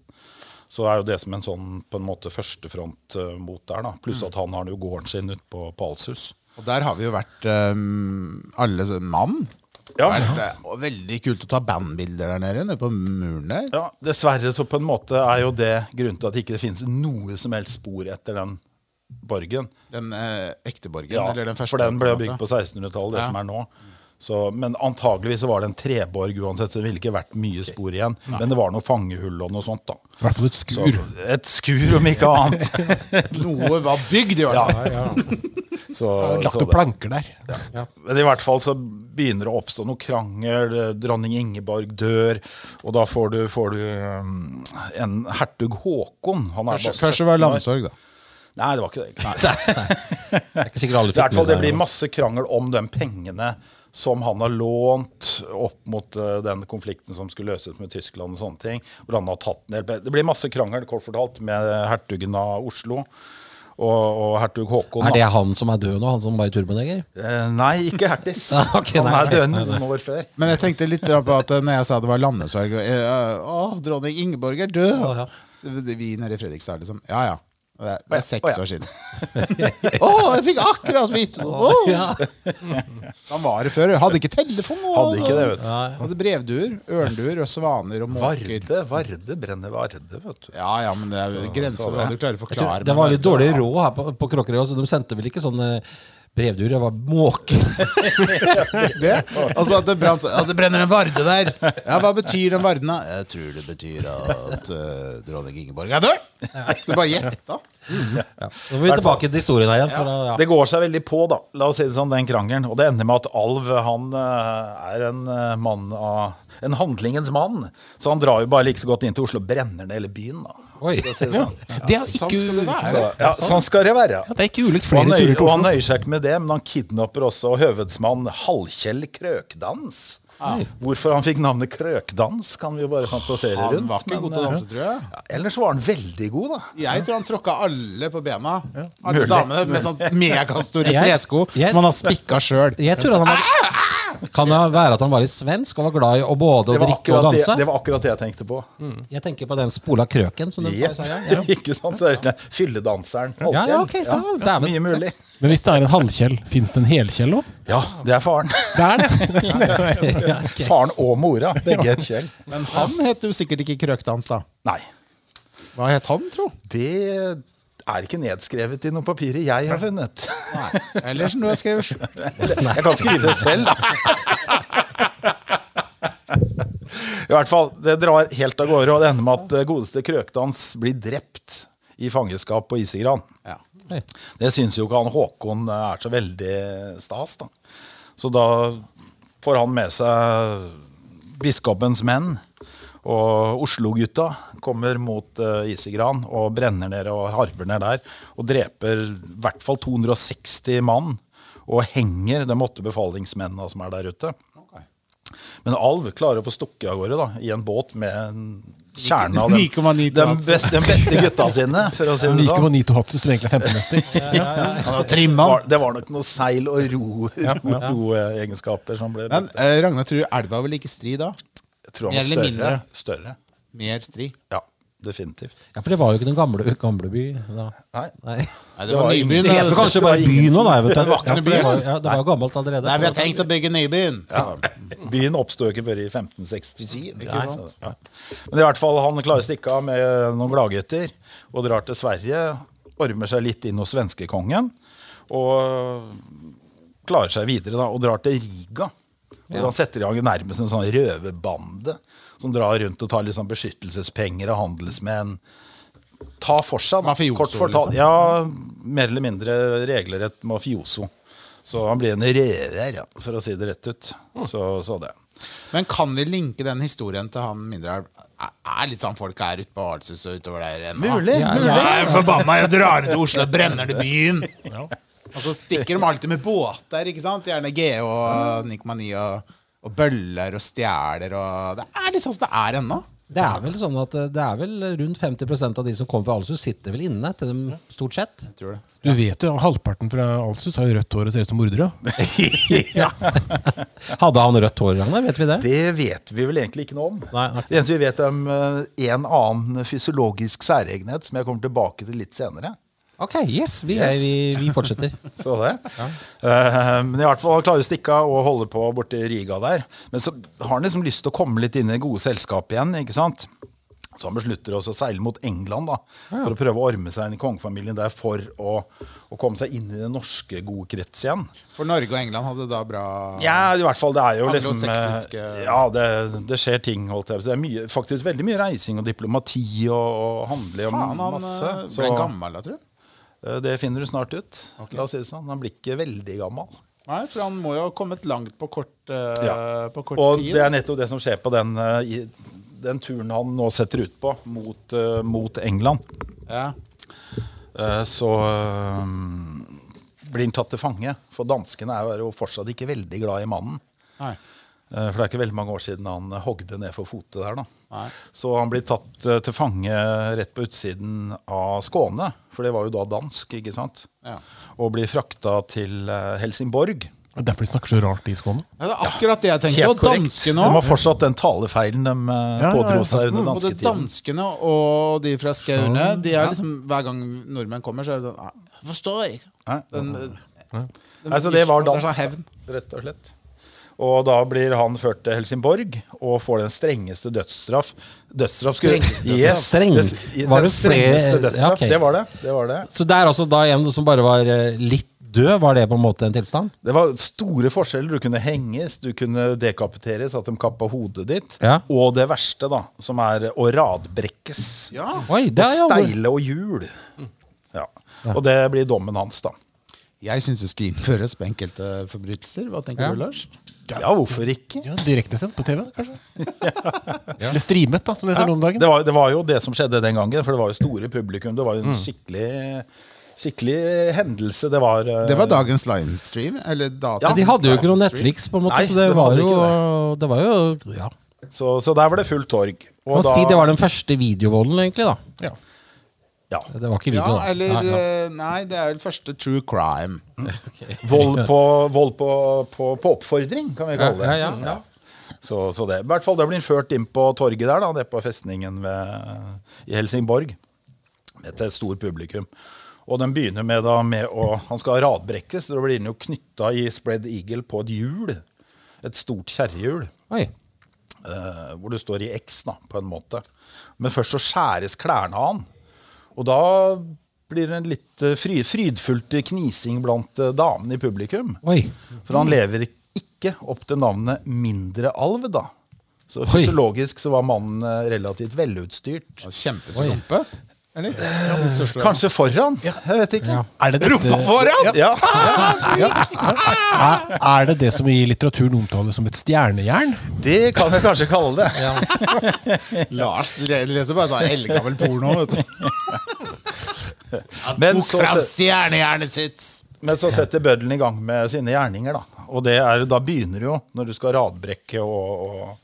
Så er jo det som en sånn på en måte førstefront eh, mot der. da.
Mm.
Pluss at han har jo gården sin ute på, på Alshus.
Og der har vi jo vært um, alle som- mann.
Ja.
Vært, eh, og veldig kult å ta bandbilder der nede, nede på muren der.
ja, Dessverre så på en måte er jo det grunnen til at det ikke finnes noe som helst spor etter den borgen.
Den eh, ekte borgen.
Ja,
eller den første.
for den ble jo
en
bygd
måte.
på 1600-tallet, det
Ja.
som er nå. Så, men antageligvis så var det en treborg uansett, så det ville ikke vært mye spor igjen. Men det var noe fangehull og noe sånt, da.
I hvert fall et
Så,
skur.
et skur, om ikke annet.
Noe var bygd, i hvert fall.
Så,
Lagt
så
opp
det.
planker der.
Men i hvert fall så begynner det å oppstå noe krangel. Dronning Ingeborg dør, og da får du, får du um, en hertug Håkon. Han er
Kanskje,
bare
kanskje det var
17 år.
landsorg, da.
Nei, det var ikke det. egentlig.
Det er ikke sikkert alle
I
fikk
hvert fall
med
det
seg
blir
det.
masse krangel om de pengene som han har lånt opp mot eh, den konflikten som skulle løses med Tyskland og sånne ting. Hvor han har tatt en del pe- Det blir masse krangel, kort fortalt, med hertugen av Oslo og, og hertug Håkon.
Er
da.
det han som er død nå, han som var i turbaneger?
Eh, Nei, ikke Hertis.
Ok,
han
nei,
er
ok.
død noen år før.
Men jeg tenkte litt da på at eh, når jeg sa det var landesorg eh, eh, Å, dronning Ingeborg er død! Så Vi nede i Fredrikstad, liksom. Ja ja. Det er, det er
Å,
seks
ja.
år siden. Å, jeg fikk akkurat vite noe! Å. Han var det før. Hadde ikke telefon. og- sånn.
Hadde ikke det, vet du.
Hadde brevduer, ørnduer og svaner og måker.
Varde, Varde brenner Varde, vet du.
Ja ja, men det er jo grenser for hva du klarer å forklare.
Det
men-
var litt dårlig råd her på, på Kråkerøy, så de sendte vel ikke sånne brevduer, det var måker.
det. Altså at det, brant, at det brenner en varde der. Ja, Hva betyr den varden, da? Jeg tror det betyr at eh, dronning Ingeborg er død! Du bare gjetta.
Nå må vi tilbake til historien her igjen. For, da- ja.
Det går seg veldig på, da. La oss si det sånn, den krangelen. Og det ender med at Alv han eh, er en eh, mann av En handlingens mann. Så han drar jo bare like så godt inn til Oslo og brenner ned hele byen, da.
Oi.
For å si det sånn.
Det er
Sånn skal det
Så,
være.
ja, sånn skal det være.
Det er ikke ulikt
Og han,
flere
nøy,
turer til
og han
Oslo.
nøyer seg ikke med det, men han kidnapper også høvedsmann Halvkjell Krøkdans. Hvorfor han fikk navnet Krøkdans, kan vi jo bare fantasere rundt. eh,
Han var ikke god til å danse, tror jeg.
Ja, ellers var han veldig god, da.
Jeg tror han tråkka alle på bena. Alle
Mulig.
damene med sånn megastore
Jeg-
tresko
jeg-
som han har spikka sjøl.
Jeg tror han var Kan det være at han var litt svensk og var glad i å både
Det
å
var,
drikke og
akkurat det,
danse?
det var akkurat det jeg tenkte på.
Jeg tenker på den spola krøken. Som den
Jepp.
sa, ja. Ja.
ikke sant? Så er det Fylledanseren.
Ja, ja, ok, da, dæven.
Mye mulig.
Men hvis det er en halvkjell, fins det en helkjell òg?
Ja, det er faren.
Det er det!
Faren og mora. Begge het Kjell.
Men han het jo sikkert ikke Krøkdans, da.
Nei,
Hva het han, tro?
det er ikke nedskrevet i noen papirer jeg har funnet.
Eller som du har skrevet sjøl.
Jeg kan skrive det selv, da. I hvert fall, det drar helt av gårde, og det ender med at eh, godeste Krøkdans blir drept i fangenskap på Isegran.
Hei.
Det syns jo ikke han Håkon er så veldig stas, da. Så da får han med seg biskopens menn. Og Oslo-gutta kommer mot eh, Isegran og brenner ned og harver ned der. Og dreper i hvert fall 260 mann. Og henger de åtte befalingsmennene som er der ute. Men Alv klarer å få stukket av gårde da, i en båt med en kjernen av dem.
9,9
De beste, de beste gutta sine, for å si det sånn.
9,9 til Hatsu, som egentlig er 15-mester.
Han har trimma
Var-
den.
Det var nok noe seil og ro- roegenskaper som ble
Men eh, Ragnar, tror du elva vil ikke stri da?
Jeg tror
mer
han
eller
var større.
mindre.
større.
Mer stri?
Ja, definitivt.
Ja, for det var jo ikke noen gamle, gamleby da.
Nei.
Nei.
Nei,
Det var ingen-
nybyen.
Det
da.
heter kanskje
det var
bare by nå, da.
Det var ikke
Ja,
noe
for det
by.
var, ja, det var jo gammelt allerede.
Nei, vi har tenkt å bygge nybyen. sa de.
Byen oppsto ikke før i 1567. Ikke
Nei,
sant? Ja. Men i hvert fall, han klarer å stikke av med noen gladgutter og drar til Sverige. Ormer seg litt inn hos svenskekongen og klarer seg videre da, og drar til Riga. Og Han setter i gang nærmest en sånn røverbande som drar rundt og tar litt sånn beskyttelsespenger av handelsmenn. Ta for seg, da.
Mafioso,
Kort fortalt.
liksom.
Ja, mer eller mindre regelrett mafioso. Så han blir en røver, ja, for å si det rett ut.
Mm.
Så, så det.
Men kan vi linke den historien til han mindre elv? Er- Er litt sånn folk er ute på Ahlshus og utover der ennå?
Mulig,
Ja,
mulig.
Jeg er forbanna, jeg drar til Oslo og brenner til byen. Og så stikker de alltid med båter, ikke sant? Gjerne GH og Nikmani og, og bøller og stjeler og Det er litt sånn som det er ennå.
Det er vel sånn at eh, det er vel rundt 50 av de som kommer fra Alesund, sitter vel inne til dem, stort sett.
Tror du?
Du vet jo, halvparten fra Alsus har jo rødt hår og ser ut som mordere.
Hadde han rødt hår, Ragnar? Vet vi det?
Det vet vi vel egentlig ikke noe om.
Nei, akkurat.
Det eneste vi vet om eh, en annen fysiologisk særegenhet, som jeg kommer tilbake til litt senere.
Ok, yes, vi,
Yes.
Vi, vi fortsetter.
Så det. Eh, men i hvert fall han klarer å stikke av og holde på borti Riga der. Men så har han liksom lyst til å komme litt inn i det gode selskapet igjen, ikke sant? Så han beslutter også å seile mot England da, for å prøve å orme seg inn i kongefamilien der for å, å komme seg inn i den norske gode krets igjen.
For Norge og England hadde da bra
Ja, i hvert fall. Det er jo liksom
Anglosaksiske-
eh, Ja, det, det skjer ting, holdt jeg på å si. Det er mye, faktisk veldig mye reising og diplomati og, og handle om
Faen, han
masse.
eh,
Så
ble gammel da, tror du?
eh, det finner du snart ut. La oss si det sånn. Han blir ikke veldig gammel.
Nei, for han må jo ha kommet langt på kort, eh,
Ja.
på kort
Og
tid.
det er nettopp det som skjer på den, eh, i- den turen han nå setter ut på mot, eh, mot England.
Ja.
Eh, Så eh, blir han tatt til fange, for danskene er jo fortsatt ikke veldig glad i mannen.
Nei.
Eh, For det er ikke veldig mange år siden han eh, hogde ned for fote der. da.
Nei.
Så han blir tatt eh, til fange rett på utsiden av Skåne, for det var jo da dansk, ikke sant?
Ja.
Og blir frakta til eh, Helsingborg.
Det er Derfor de snakker så rart i Skåne.
Ja, det er akkurat det jeg tenkte.
Helt
Og
korrekt. De
danskene
har
òg.
fortsatt den talefeilen de eh,
ja,
pådro
ja.
seg under
Både
dansketiden.
danskene og de fra Skaune. De er liksom, hver gang nordmenn kommer, så er det sånn «Nei, Jeg forstår ikke.
Nei.
Den, eh, den-
Nei, så det var
er
dansk,
sånn hevn.
rett og slett. Og da blir han ført til Helsingborg og får den strengeste dødsstraff. Dødsstraff skulle
Strengeste dødsstraff?
yes,
Streng.
det- Den,
Var det
strengeste
flere- Ja,
dødsstraff.
ok.
Det var det. det var det.
Så det er altså da en som bare var eh, litt død, var det på en måte en tilstand?
Det var store forskjeller. Du kunne henges, du kunne dekapiteres, at de kappa hodet ditt.
Ja.
Og det verste, da, som er å radbrekkes.
Oi, det er jo-
og steile og hjul. Ja. Og det blir dommen hans, da.
Jeg syns det skal innføres på enkelte forbrytelser. Hva tenker
Ja.
du, Lars?
Ja, hvorfor ikke?
Ja, Direktesendt på TV, kanskje? Eller streamet, da, som det heter nå om dagen.
Det var, det var jo det som skjedde den gangen, for det var jo store publikum. Det var
Mm.
jo en skikkelig, skikkelig hendelse. Det var, eh,
Det var dagens livestream. Eller data.
Ja,
De hadde jo ikke noe Netflix, på en måte,
Nei,
så det
de
var
hadde
jo
ikke
Det var jo ja.
så, så der var det fullt torg. Og
Man kan si det var den første videovolden, egentlig. da
Ja.
ja,
Det var ikke video,
Ja,
da.
eller
Nei, ja.
eh, Nei, det er vel første true crime.
vold på, vold på, på, på oppfordring, kan vi kalle det.
Ja, ja, ja.
Så, så det. I hvert fall det blir ført inn på torget der, da, det på festningen ved, i Helsingborg. Med til et stort publikum. Og den begynner med, da, med å Han skal radbrekkes, da blir han jo knytta i spread eagle på et hjul. Et stort kjerrehjul.
Oi.
eh, hvor du står i X, da, på en måte. Men først så skjæres klærne av han. Og da blir det en litt eh, fry, frydfullt knising blant eh, damene i publikum.
Oi.
For han lever ikke opp til navnet Mindre alv, da. Så
Oi.
fysiologisk så var mannen eh, relativt velutstyrt.
Kjempestor rumpe. Eller?
Kanskje foran? Jeg vet ikke.
Er det dette,
Foran!
Ja.
er, er det det som i litteraturen omtales som et stjernejern?
Det kan jeg kanskje kalle det.
Lars le- leser bare sånn eldgammel porno. Vet du. Han
Men
tok
så-
fram stjernejernet sitt.
Men så setter bøddelen i gang med sine gjerninger, da. Og det er, da begynner jo, når du skal radbrekke og, og,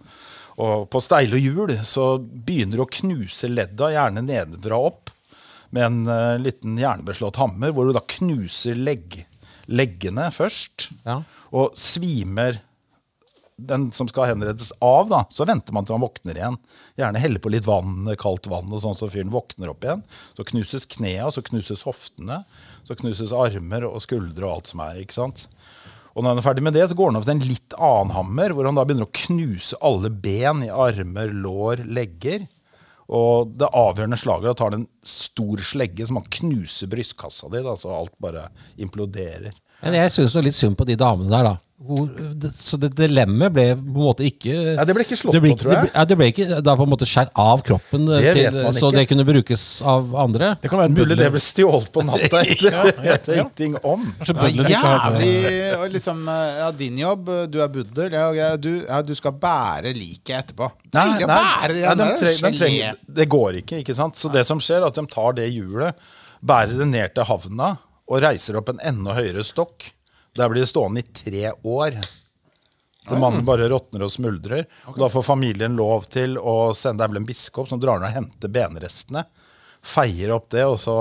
Og på steile hjul så begynner du å knuse ledda, gjerne nedenfra og opp, med en eh, liten jernbeslått hammer, hvor du da knuser legg, leggene først,
Ja.
og svimer den som skal henrettes av, da, så venter man til han våkner igjen. Gjerne helle på litt vann, kaldt vann, og sånn, så fyren våkner opp igjen. Så knuses knea, så knuses hoftene, så knuses armer og skuldre og alt som er. ikke sant? Og når han er ferdig med det, så går han over til en litt annen hammer, hvor han da begynner å knuse alle ben i armer, lår, legger. Og det avgjørende slaget da tar han en stor slegge som han knuser brystkassa di, da, så alt bare imploderer.
Men jeg syns litt synd på de damene der, da. Hvor, det, så det dilemmaet ble på en måte ikke
Ja, det ble ikke slått
det ble
på, tror jeg.
Det ble, ja, det ble ikke da på en måte skjær av kroppen, eh,
Det
til,
vet man
så
ikke.
det kunne brukes av andre.
Det kan være en
Mulig det
bøddel.
ble stjålet på natta etter. Det vet jeg ingenting om.
Ja,
Kanskje bøddelen ikke har det.
jævlig og liksom, ja, Din jobb, du er buddel, ja, ok, du, ja, du skal bære liket etterpå.
Nei,
Ikke
nei,
bære det
nei, de
der,
treng- de
gelé.
trenger- det går ikke, ikke sant? Så det som skjer er at de tar det hjulet, bærer det ned til havna og reiser opp en enda høyere stokk. Der blir det stående i tre år. Så mannen bare råtner og smuldrer. Og da får familien lov til å sende det er vel en biskop som drar ned og henter benrestene. Feier opp det, og så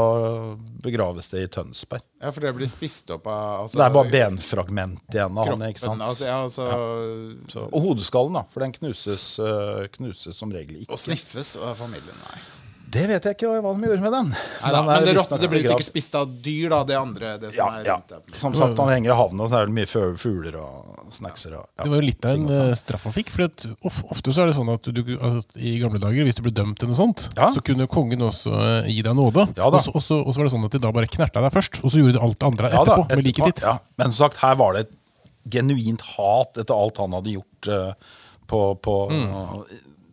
begraves det i Tønsberg.
Ja, for det blir spist opp av altså,
Så det er bare benfragment igjen av han.
kroppen,
ikke sant?
Altså, ja, altså,
Så, og hodeskallen, da. For den knuses, øh, knuses som regel ikke.
Og sniffes av familien. Nei.
Det vet jeg ikke hva hva de gjorde med den.
Nei, da,
Den er
men det,
visstnok
råtne, det blir
begravd.
sikkert spist av dyr, da. Det andre. Det som
ja,
er
ja.
rundt der.
Som sagt, han henger i havna, så er det mye fø- fugler og snackser. Og, ja.
Det var jo litt av en eh, straff han fikk. For at of, ofte så er det sånn at du, at i gamle dager, hvis du ble dømt til noe sånt,
Ja.
så kunne kongen også eh, gi deg nåde.
Ja da.
Og så- Og så og så var det sånn at de da bare knerta deg først, og så gjorde de alt det andre
Ja da,
eh, etterpå med
etterpå,
liket ditt.
ja. Men som sagt, her var det et genuint hat etter alt han hadde gjort eh, på, på
Mm.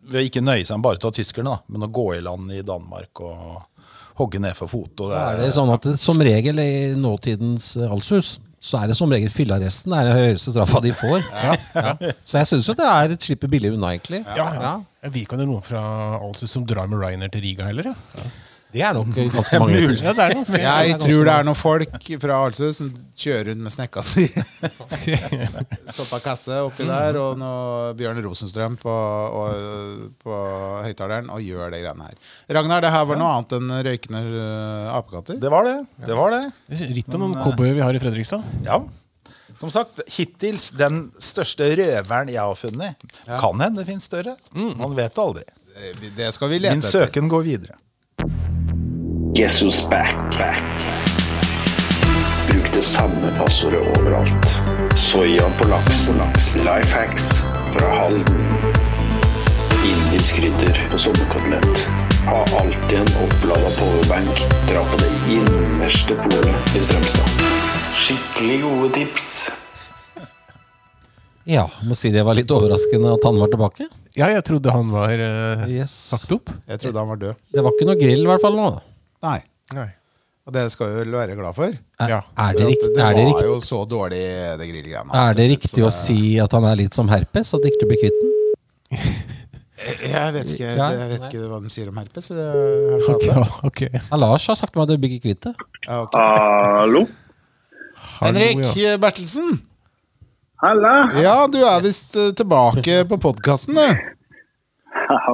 Ved å ikke nøye seg med bare å ta tyskerne, da, men å gå i land i Danmark og hogge ned for fot. Og det,
Er det sånn at det, som regel i nåtidens eh, allshus, så er det som regel fyllearresten er den høyeste straffa de får. Ja. Så jeg syns jo det er et slippe billig unna, egentlig.
Ja, ja. Jeg vet ikke om det er noen fra Alsus som drar med Ryanair til Riga heller. Ja.
Det er nok ganske mange.
Ja, det er ganske
Jeg tror det er noen folk fra Alsø som kjører rundt med snekka si. Toppa kasse oppi der, og noe Bjørn Rosenstrøm på, og, på høyttaleren, og gjør de greiene her. Ragnar, det her var noe annet enn røykende eh, apekatter?
det var det. Det var det.
Ritt om noen cowboyer vi har i Fredrikstad.
Ja. Som sagt, hittils den største røveren jeg har funnet. Kan hende det finnes større. Man vet aldri.
Det, det skal vi
Min
Mm. lete etter.
søken går videre.
Guess who's back, back. Bruk det samme passordet overalt. Soya på laksen, life hacks fra Halden. Indisk krydder på sommerkotelett. Ha alltid en opplada powerbank. Dra på det innerste polet i Strømstad. Skikkelig gode tips.
Ja, må si det var litt overraskende at han var tilbake.
Ja, jeg trodde han var eh,
Yes.
sagt opp.
Jeg trodde han var død.
Det var ikke noe grill, i hvert fall nå.
Nei.
Nei.
Og det skal vi vel være glad for.
Er,
Ja.
Eh, er det riktig,
det
er det
var
riktig,
jo så dårlig, det grillgreiene. hans.
er det riktig
Så
å si at han er litt som herpes, at ikke du blir kvitt den?
Jeg, jeg vet ikke,
Ja,
jeg vet
nei.
ikke hva de sier om herpes. jeg har ikke hatt
Ok,
det.
ok.
Ja, Lars har sagt meg at du blir ikke kvitt det.
Ja, ok.
Hallo?
Hallo,
Henrik
ja.
Bertelsen.
Halla!
Ja, du er visst eh, tilbake på podkasten, du.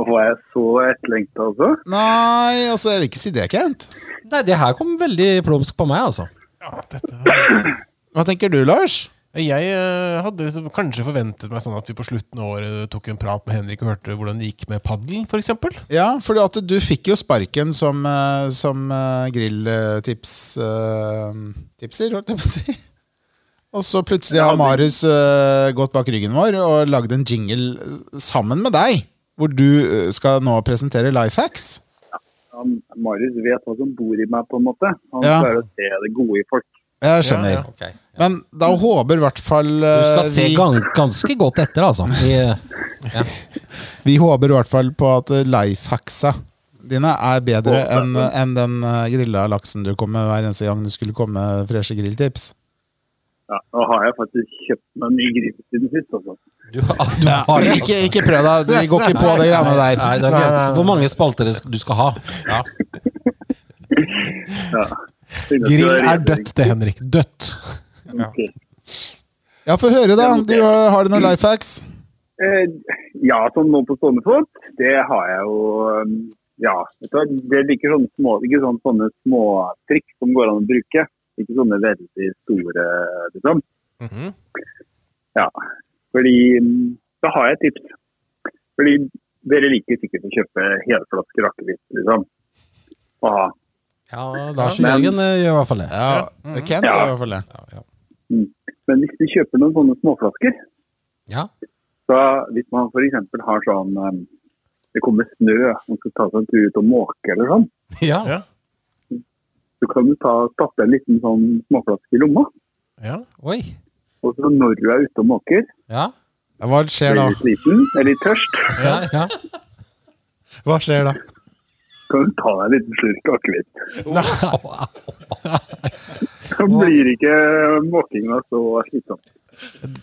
Var jeg så etterlengta, altså?
Nei, altså, jeg vil ikke si det, Kent.
Nei, det her kom veldig plumsk på meg, altså.
Hva tenker du, Lars?
Jeg eh, hadde liksom kanskje forventet meg sånn at vi på slutten av året tok en prat med Henrik og hørte hvordan det gikk med paddel, f.eks.
Ja, for at du fikk jo sparken som, eh, som grilltipser, holdt jeg på å si. Og så plutselig har Marius eh, gått bak ryggen vår og lagd en jingle eh, sammen med deg. Hvor du eh, skal nå presentere life hacks.
Ja, Marius vet hva som bor i meg, på en måte. Han
Ja.
klarer å se det gode i folk.
Jeg skjønner.
Ja,
Men da håper i hvert fall
Du
eh,
skal se
vi-
gan ganske godt etter, altså. I,
Vi håper i hvert fall på at lifehacksa dine er bedre enn enn den eh, grilla laksen du kom med hver eneste gang du skulle komme med freshe grilltips.
Ja, nå har jeg faktisk kjøpt meg en ny grill siden sist. Altså.
du, har- du har det.
Ikke, ikke prøv deg, vi går ikke på de greiene der.
Nei, det er grenser hvor mange spalter det sk- du skal ha.
Grill er dødt, det, Henrik. Dødt.
Ok.
Ja, få høre, da. Du eh, har du noen lifehacks?
Eh, ja, sånn nå på stående fot, det har jeg jo um, Ja, vet du hva, det liker sånne små, ikke sånn, sånne småtrikk som går an å bruke. Ikke sånne veldig store, liksom.
Mhm.
Ja. Fordi mm, Da har jeg et tips. Fordi dere liker sikkert å kjøpe helflasker akevitt, liksom. Og ha.
Ja, Lars Jørgen eh, gjør i hvert fall det.
Ja, Kent
Ja.
gjør i hvert fall det.
Mm. Men hvis du kjøper noen sånne småflasker
Ja.
Så hvis man f.eks. har sånn um, Det kommer snø, man skal ta seg en tur ut og måke eller sånn,
Ja.
så kan du ta, stappe en liten sånn småflaske i lomma.
Oi.
Og så når du er ute og måker,
Ja.
Hva skjer
blir
da?
du sliten eller litt tørst,
Ja, ja.
Hva skjer da?
kan du ta deg en liten slurk akevitt.
Nei.
Så blir ikke måkinga så slitsom.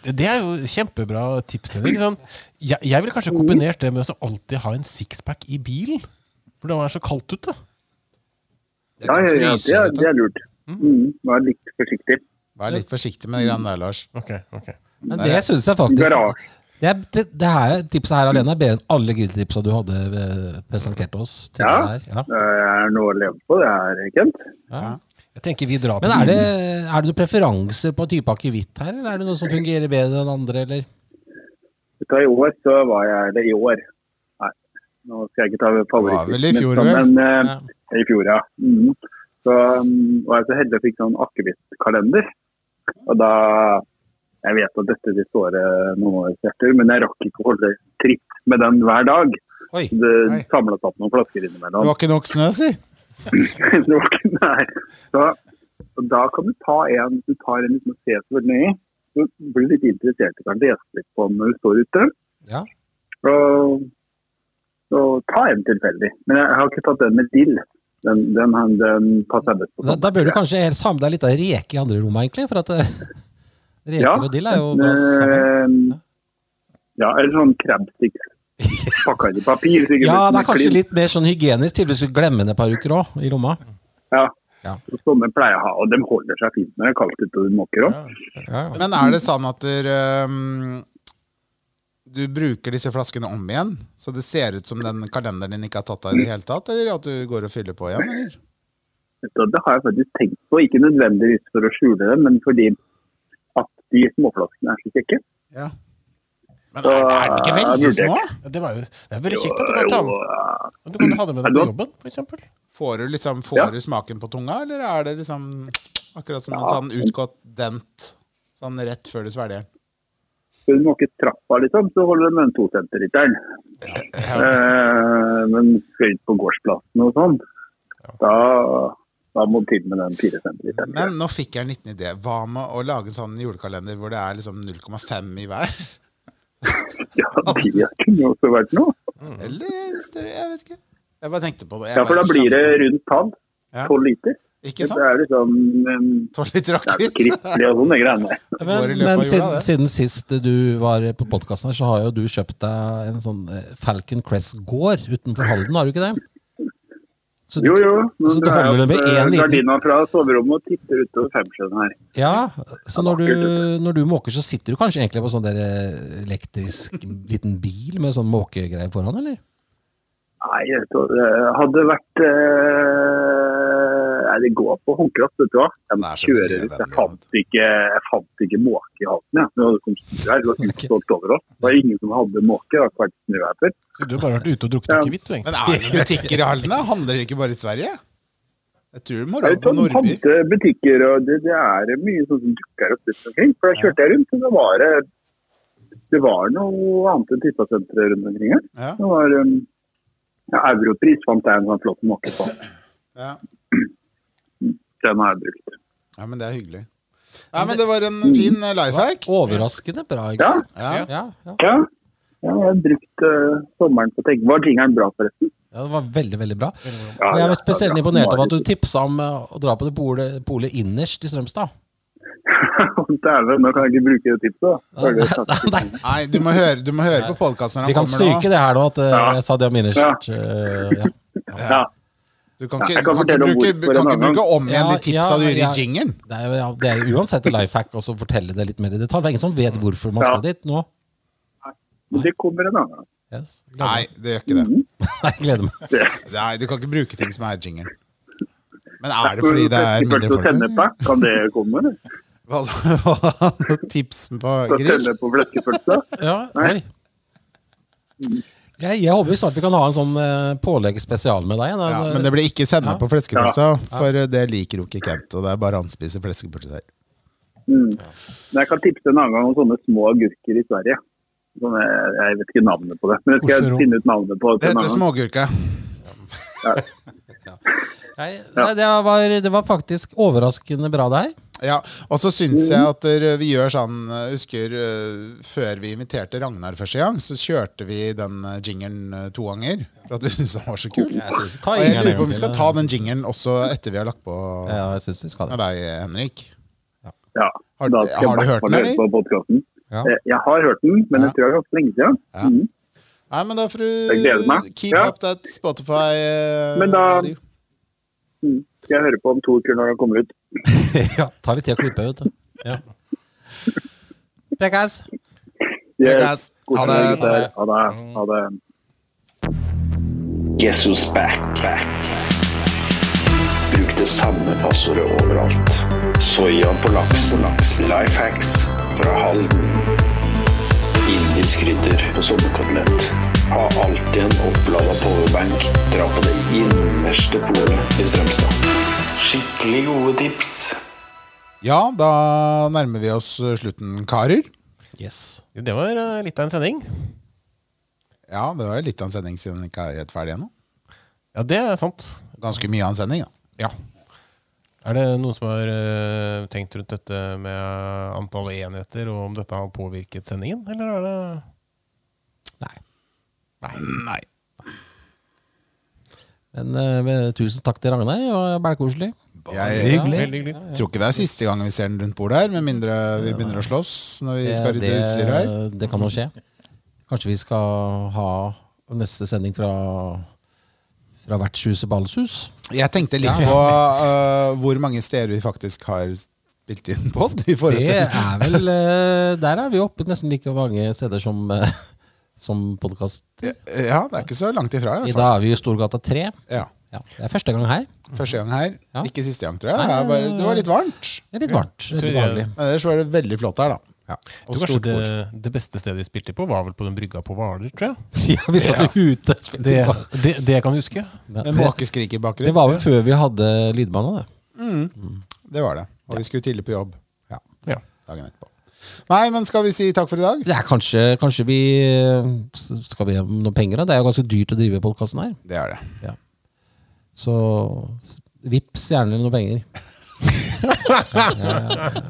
Det det er jo kjempebra tips. Henrik, Ikke sant? Jeg, jeg ville kanskje kombinert det med å alltid ha en sixpack i bilen. For det er så kaldt ute.
Ja, ja, ja, det er, det er lurt. Mm, Vær litt forsiktig.
Vær litt forsiktig med de greiene der, Lars.
Ok, ok.
Men det syns jeg faktisk
Garasje.
det, er, det, det her tipset her alene er bedre enn alle grilltipsa du hadde eh, presentert oss. Til
Ja.
det her.
Det er noe å leve på, det her, Kent.
ja. ja.
Jeg tenker vi drar
Men er det, er det noen preferanser på type akevitt her, eller er det noe som fungerer bedre enn andre, eller?
Vet du hva, I år så var jeg det i år. Nei, nå skal jeg ikke ta
var vel i
favorittfisken,
fjor,
men eh, i fjor, ja. Mhm. Så mm, var jeg så heldig og fikk sånn akevittkalender. Og da Jeg vet at dette vil såre noen år etter, men jeg rakk ikke å holde tritt med den hver dag.
Oi.
Det
Nei.
samla opp noen flasker innimellom.
Det var ikke nok snø, si!
det var ikke nei. Så, og da kan du ta en du tar en uten å se så veldig nøye. Så blir du litt interessert og kan lese litt på den når du står ute.
Ja.
Og, og ta en tilfeldig. Men jeg har ikke tatt den med dill. Den, den, den, den passer best på
Da,
sånn.
da bør du kanskje helst ha med deg litt av reke i andre rommet, egentlig. For at eh, reker
Ja,
og dill er jo bra sammen.
Eh, Ja, eller sånn crabsticks. Pakka i papir. sikkert
Ja,
uten
det er kanskje
klin.
litt mer sånn hygienisk til hvis du glemmer den et par uker òg, i lomma.
Ja.
Ja.
Så Sånne pleier jeg å ha. Og de holder seg fint når det er kaldt ute og du måker òg.
Men er det sånn at der, ehm, du bruker disse flaskene om igjen, så det ser ut som den kalenderen din ikke har tatt av i det hele tatt? Eller at du går og fyller på igjen? Eller?
Så det har jeg faktisk tenkt på, ikke nødvendigvis for å skjule det, men fordi at de småflaskene er så kjekke.
Ja. Men er, er de ikke veldig små?
Det, var jo, det er veldig kjekt at du kan ta med
eh,
Du kan ha det med deg på jobben, f.eks.
Får du, liksom, får
Ja.
du smaken på tunga, eller er det liksom akkurat som en sånn utgått dent? Sånn rett før du svelger den?
Skal du måke trappa, liksom, så holder du med en to centiliteren. Eh, men skal ut på gårdsplassen og sånn, da, da må du til med den fire centiliteren.
Men nå fikk jeg en liten idé. Hva med å lage en sånn julekalender hvor det er liksom 0,5 i hver?
Ja, de kunne jo også vært noe.
Eller større? Jeg vet ikke. Jeg bare tenkte på det. Jeg
Mm. Ja, for da
bare
blir det
slang ut.
rundt tann.
Ja.
Tolv liter.
Ikke
Det
sant?
er liksom um,
Tolv liter
det er jo
akevitt.
skriftlig og sånne greiene.
Går i
Men,
løpet av
men
jula,
siden,
det.
siden sist du var på podkasten her, så har jo du kjøpt deg en sånn eh, Falcon Crest gård utenfor Halden, har du ikke det? Så du,
Jo, jo. Nå
Så du
drar
holder det
jeg
med
opp
en
eh,
liten-
gardina fra soverommet og titter utover femsjøen her.
ja, så når du,
vakkert,
når du måker, så sitter du kanskje egentlig på sånn der eh, elektrisk liten bil med sånn måkegreie foran, eller?
Nei, jeg vet ikke, det hadde vært eh, Nei, det går på håndkraft, vet du hva. Jeg må
Det er så
kjøre
miljøvennlig,
ut. Jeg
vet
fant ikke, jeg fant ikke måke i halsen, jeg. Når det kom snø her, det var ikke stolt over oss. Det var ingen som hadde måke. Det har ikke vært snø her før.
Så du har bare vært ute og drukket
Ja.
akevitt, du, egentlig.
Men er det butikker i Halden? da? Handler det ikke bare i Sverige? Jeg tror det må
Det
være
er
på
sånn
Nordby.
pantebutikker, og det, det er mye sånn som dukker opp rundt omkring. For da kjørte jeg rundt, og da var det det var noe annet enn Tippasenteret rundt omkring her.
Ja.
Det var um, ja, Europris fant jeg en sånn flott måke på.
Ja.
Den har jeg brukt.
ja, men det er hyggelig. Nei, men det var en
Mm.
fin life hack.
Overraskende bra,
Ja,
ikke sant?
Ja.
Ja, ja.
Ja, ja jeg har brukt eh, sommeren på å tenke. Var jingeren bra, forresten?
ja, det var veldig, veldig bra.
Ja,
Og jeg
ja,
var spesielt
ja, ja.
imponert over at du tipsa om eh, å dra på det polet, polet innerst i Strømstad.
Dæven, nå kan jeg ikke bruke det tipset. da. Føler jeg
Nei,
snakker.
nei,
Nei, du må høre, du må høre på podkasten når
vi
han
kan
kommer
stryke
nå.
det her nå, at eh,
Ja.
jeg sa det om innerst. eh, Ja.
Ja.
Du kan ikke,
Jeg
du kan
kan
ikke
fortelle om
bruke, du
hvorfor
kan
en
ikke
annen
bruke om igjen de
Ja, ja,
tipsa du gir i
ja.
jingeren.
Det er, jo- ja, det er jo uansett en life hack å fortelle det litt mer i detalj. Det er ingen som vet hvorfor man
Ja.
skal dit nå.
Men det kommer en annen gang.
Nei, det gjør ikke det.
Mm.
Nei, gleder
meg. Nei, du kan ikke bruke ting som er jingle. Men er det fordi det er mindre folk
Tenne på, kan det komme, eller?
Hva, hva, tipsen på
Skal
grill?
tenne på fleskepølse?
Ja, oi. Jeg, jeg håper jo snart vi kan ha en sånn eh, påleggsspesial med deg. da.
Ja, men det blir ikke sende på fleskepølsa,
Ja.
for det liker jo ikke Kent. Og det er bare han spiser fleskepølse der.
Mm. Men jeg kan tipse en annen gang om sånne små agurker i Sverige. Sånne, jeg vet ikke navnet på det, men jeg skal
Orserå.
finne ut navnet på
Det heter smågurke.
Ja.
Nei, nei, det, var, det var faktisk overraskende bra, det her.
Ja, og så
Mm.
syns jeg at dere- vi gjør sånn eh, Husker eh, før vi inviterte Ragnar første gang, så kjørte vi den eh, jingeren eh, to ganger. For at du syntes den var så kul.
Jeg synes- ta
Og jeg
jingeren
lurer
en gang
på om vi skal
til,
ta den jingeren også etter vi har lagt på
Ja, jeg synes vi skal det.
med deg, Henrik.
Ja,
Har-
da skal
har du
jeg i
hørt
hvert fall
den,
høre på podcasten.
Ja.
Eh, Jeg har hørt den, men jeg tror jeg har hørt den lenge siden. Mhm.
Nei, men da får
Jeg gleder meg.
du keep
Ja.
up that Spotify eh,
Men da
radio.
Mhm. skal jeg høre på om to uker når den kommer ut.
ja, ta litt tid å klippe, vet du. Ja. Prekkas!
Yes.
Ha det.
Ha det. Ha det. Ha det.
Guess who's back, back. Bruk det samme passordet overalt. Soya på laksen, laks. Life hacks fra Halden. Indisk krydder og sommerkotelett. Ha alltid en opplada powerbank. Dra på det innerste polet i Strømstad. Skikkelig gode tips.
Ja, da nærmer vi oss eh, slutten, karer.
Yes.
Det var eh, litt av en sending.
Ja, det var jo litt av en sending siden den ikke er helt ferdig ennå.
Ja, det er sant.
Ganske mye av en sending, da.
Ja. Er det noen som har eh, tenkt rundt dette med antall enheter, og om dette har påvirket sendingen, eller er det Nei.
Nei.
Men eh, men tusen takk til Ragnar, det var bælkoselig.
Jeg, Tror ikke det er siste gang vi ser den rundt bordet her, med mindre vi begynner å slåss når vi skal rydde utstyret her.
Eh, Det kan jo skje. Kanskje vi skal ha neste sending fra, fra vertshuset Ballshus?
Jeg tenkte litt
Ja.
på øh, hvor mange steder vi faktisk har spilt inn pod. I forhold
Det
til.
er vel eh, Der er vi oppe nesten like mange steder som, eh, som podkast.
Ja, det er ikke så langt ifra. I
I
hvert fall.
dag er vi i Storgata 3.
Ja.
Ja, det er første gang her.
Første gang her. Ikke siste gang, tror jeg.
Nei,
Det, er bare, det var litt varmt.
Det er litt varmt.
Tror
Litt
jeg-
behagelig.
Men ellers var det veldig flott her, da.
Jeg tror kanskje det, det beste stedet vi spilte på, var vel på den brygga på Hvaler, tror jeg.
Ja, vi satt jo ute.
Det, det, det jeg kan huske.
Med måkeskrik i bakgrunnen.
Det var vel før vi hadde lydbane, det.
Mm. Det var det. Og vi skulle tidlig på jobb
Ja.
dagen etterpå. Nei, men skal vi si takk for i dag?
Det er kanskje, kanskje vi eh, Skal vi ha noen penger, da? Det er jo ganske dyrt å drive podkasten her.
Det er det.
Ja. Så vips gjerne noen penger. ja, ja, ja.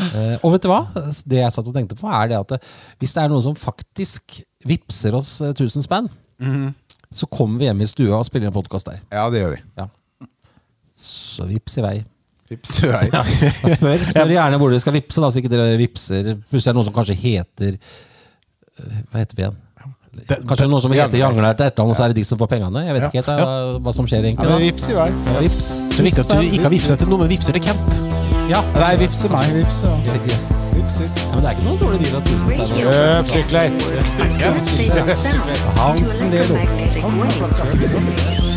Eh, og vet du hva? Det jeg satt og tenkte på, er det at eh, hvis det er noen som faktisk vipser oss eh, 1000 spenn,
Mhm.
så kommer vi hjem i stua og spiller en podkast der.
Ja, det gjør vi.
Ja. Så vips i vei.
Vips, du er-
Ja. Spør, spør gjerne hvor dere skal vipse, da, så ikke dere vipser. Plutselig er det noen som kanskje heter eh, Hva heter vi igjen? Kanskje noen som heter Jangler til et eller annet, og så er det de som får pengene? Jeg vet ikke helt eh, hva som skjer
Ja,
egentlig.
men
da.
vips i vei.
Ja, vips.
Det er viktig at du ikke har vipset til noe, men vipser til Kent.
Ja.
Nei, vips til meg. Vips, da.
Yes.
Vips, vips.
Ja, men det er ikke noe dårlig deal at tusen spenn
Kjøp sykler!
er
By transmitting sound into electromagnetic waves.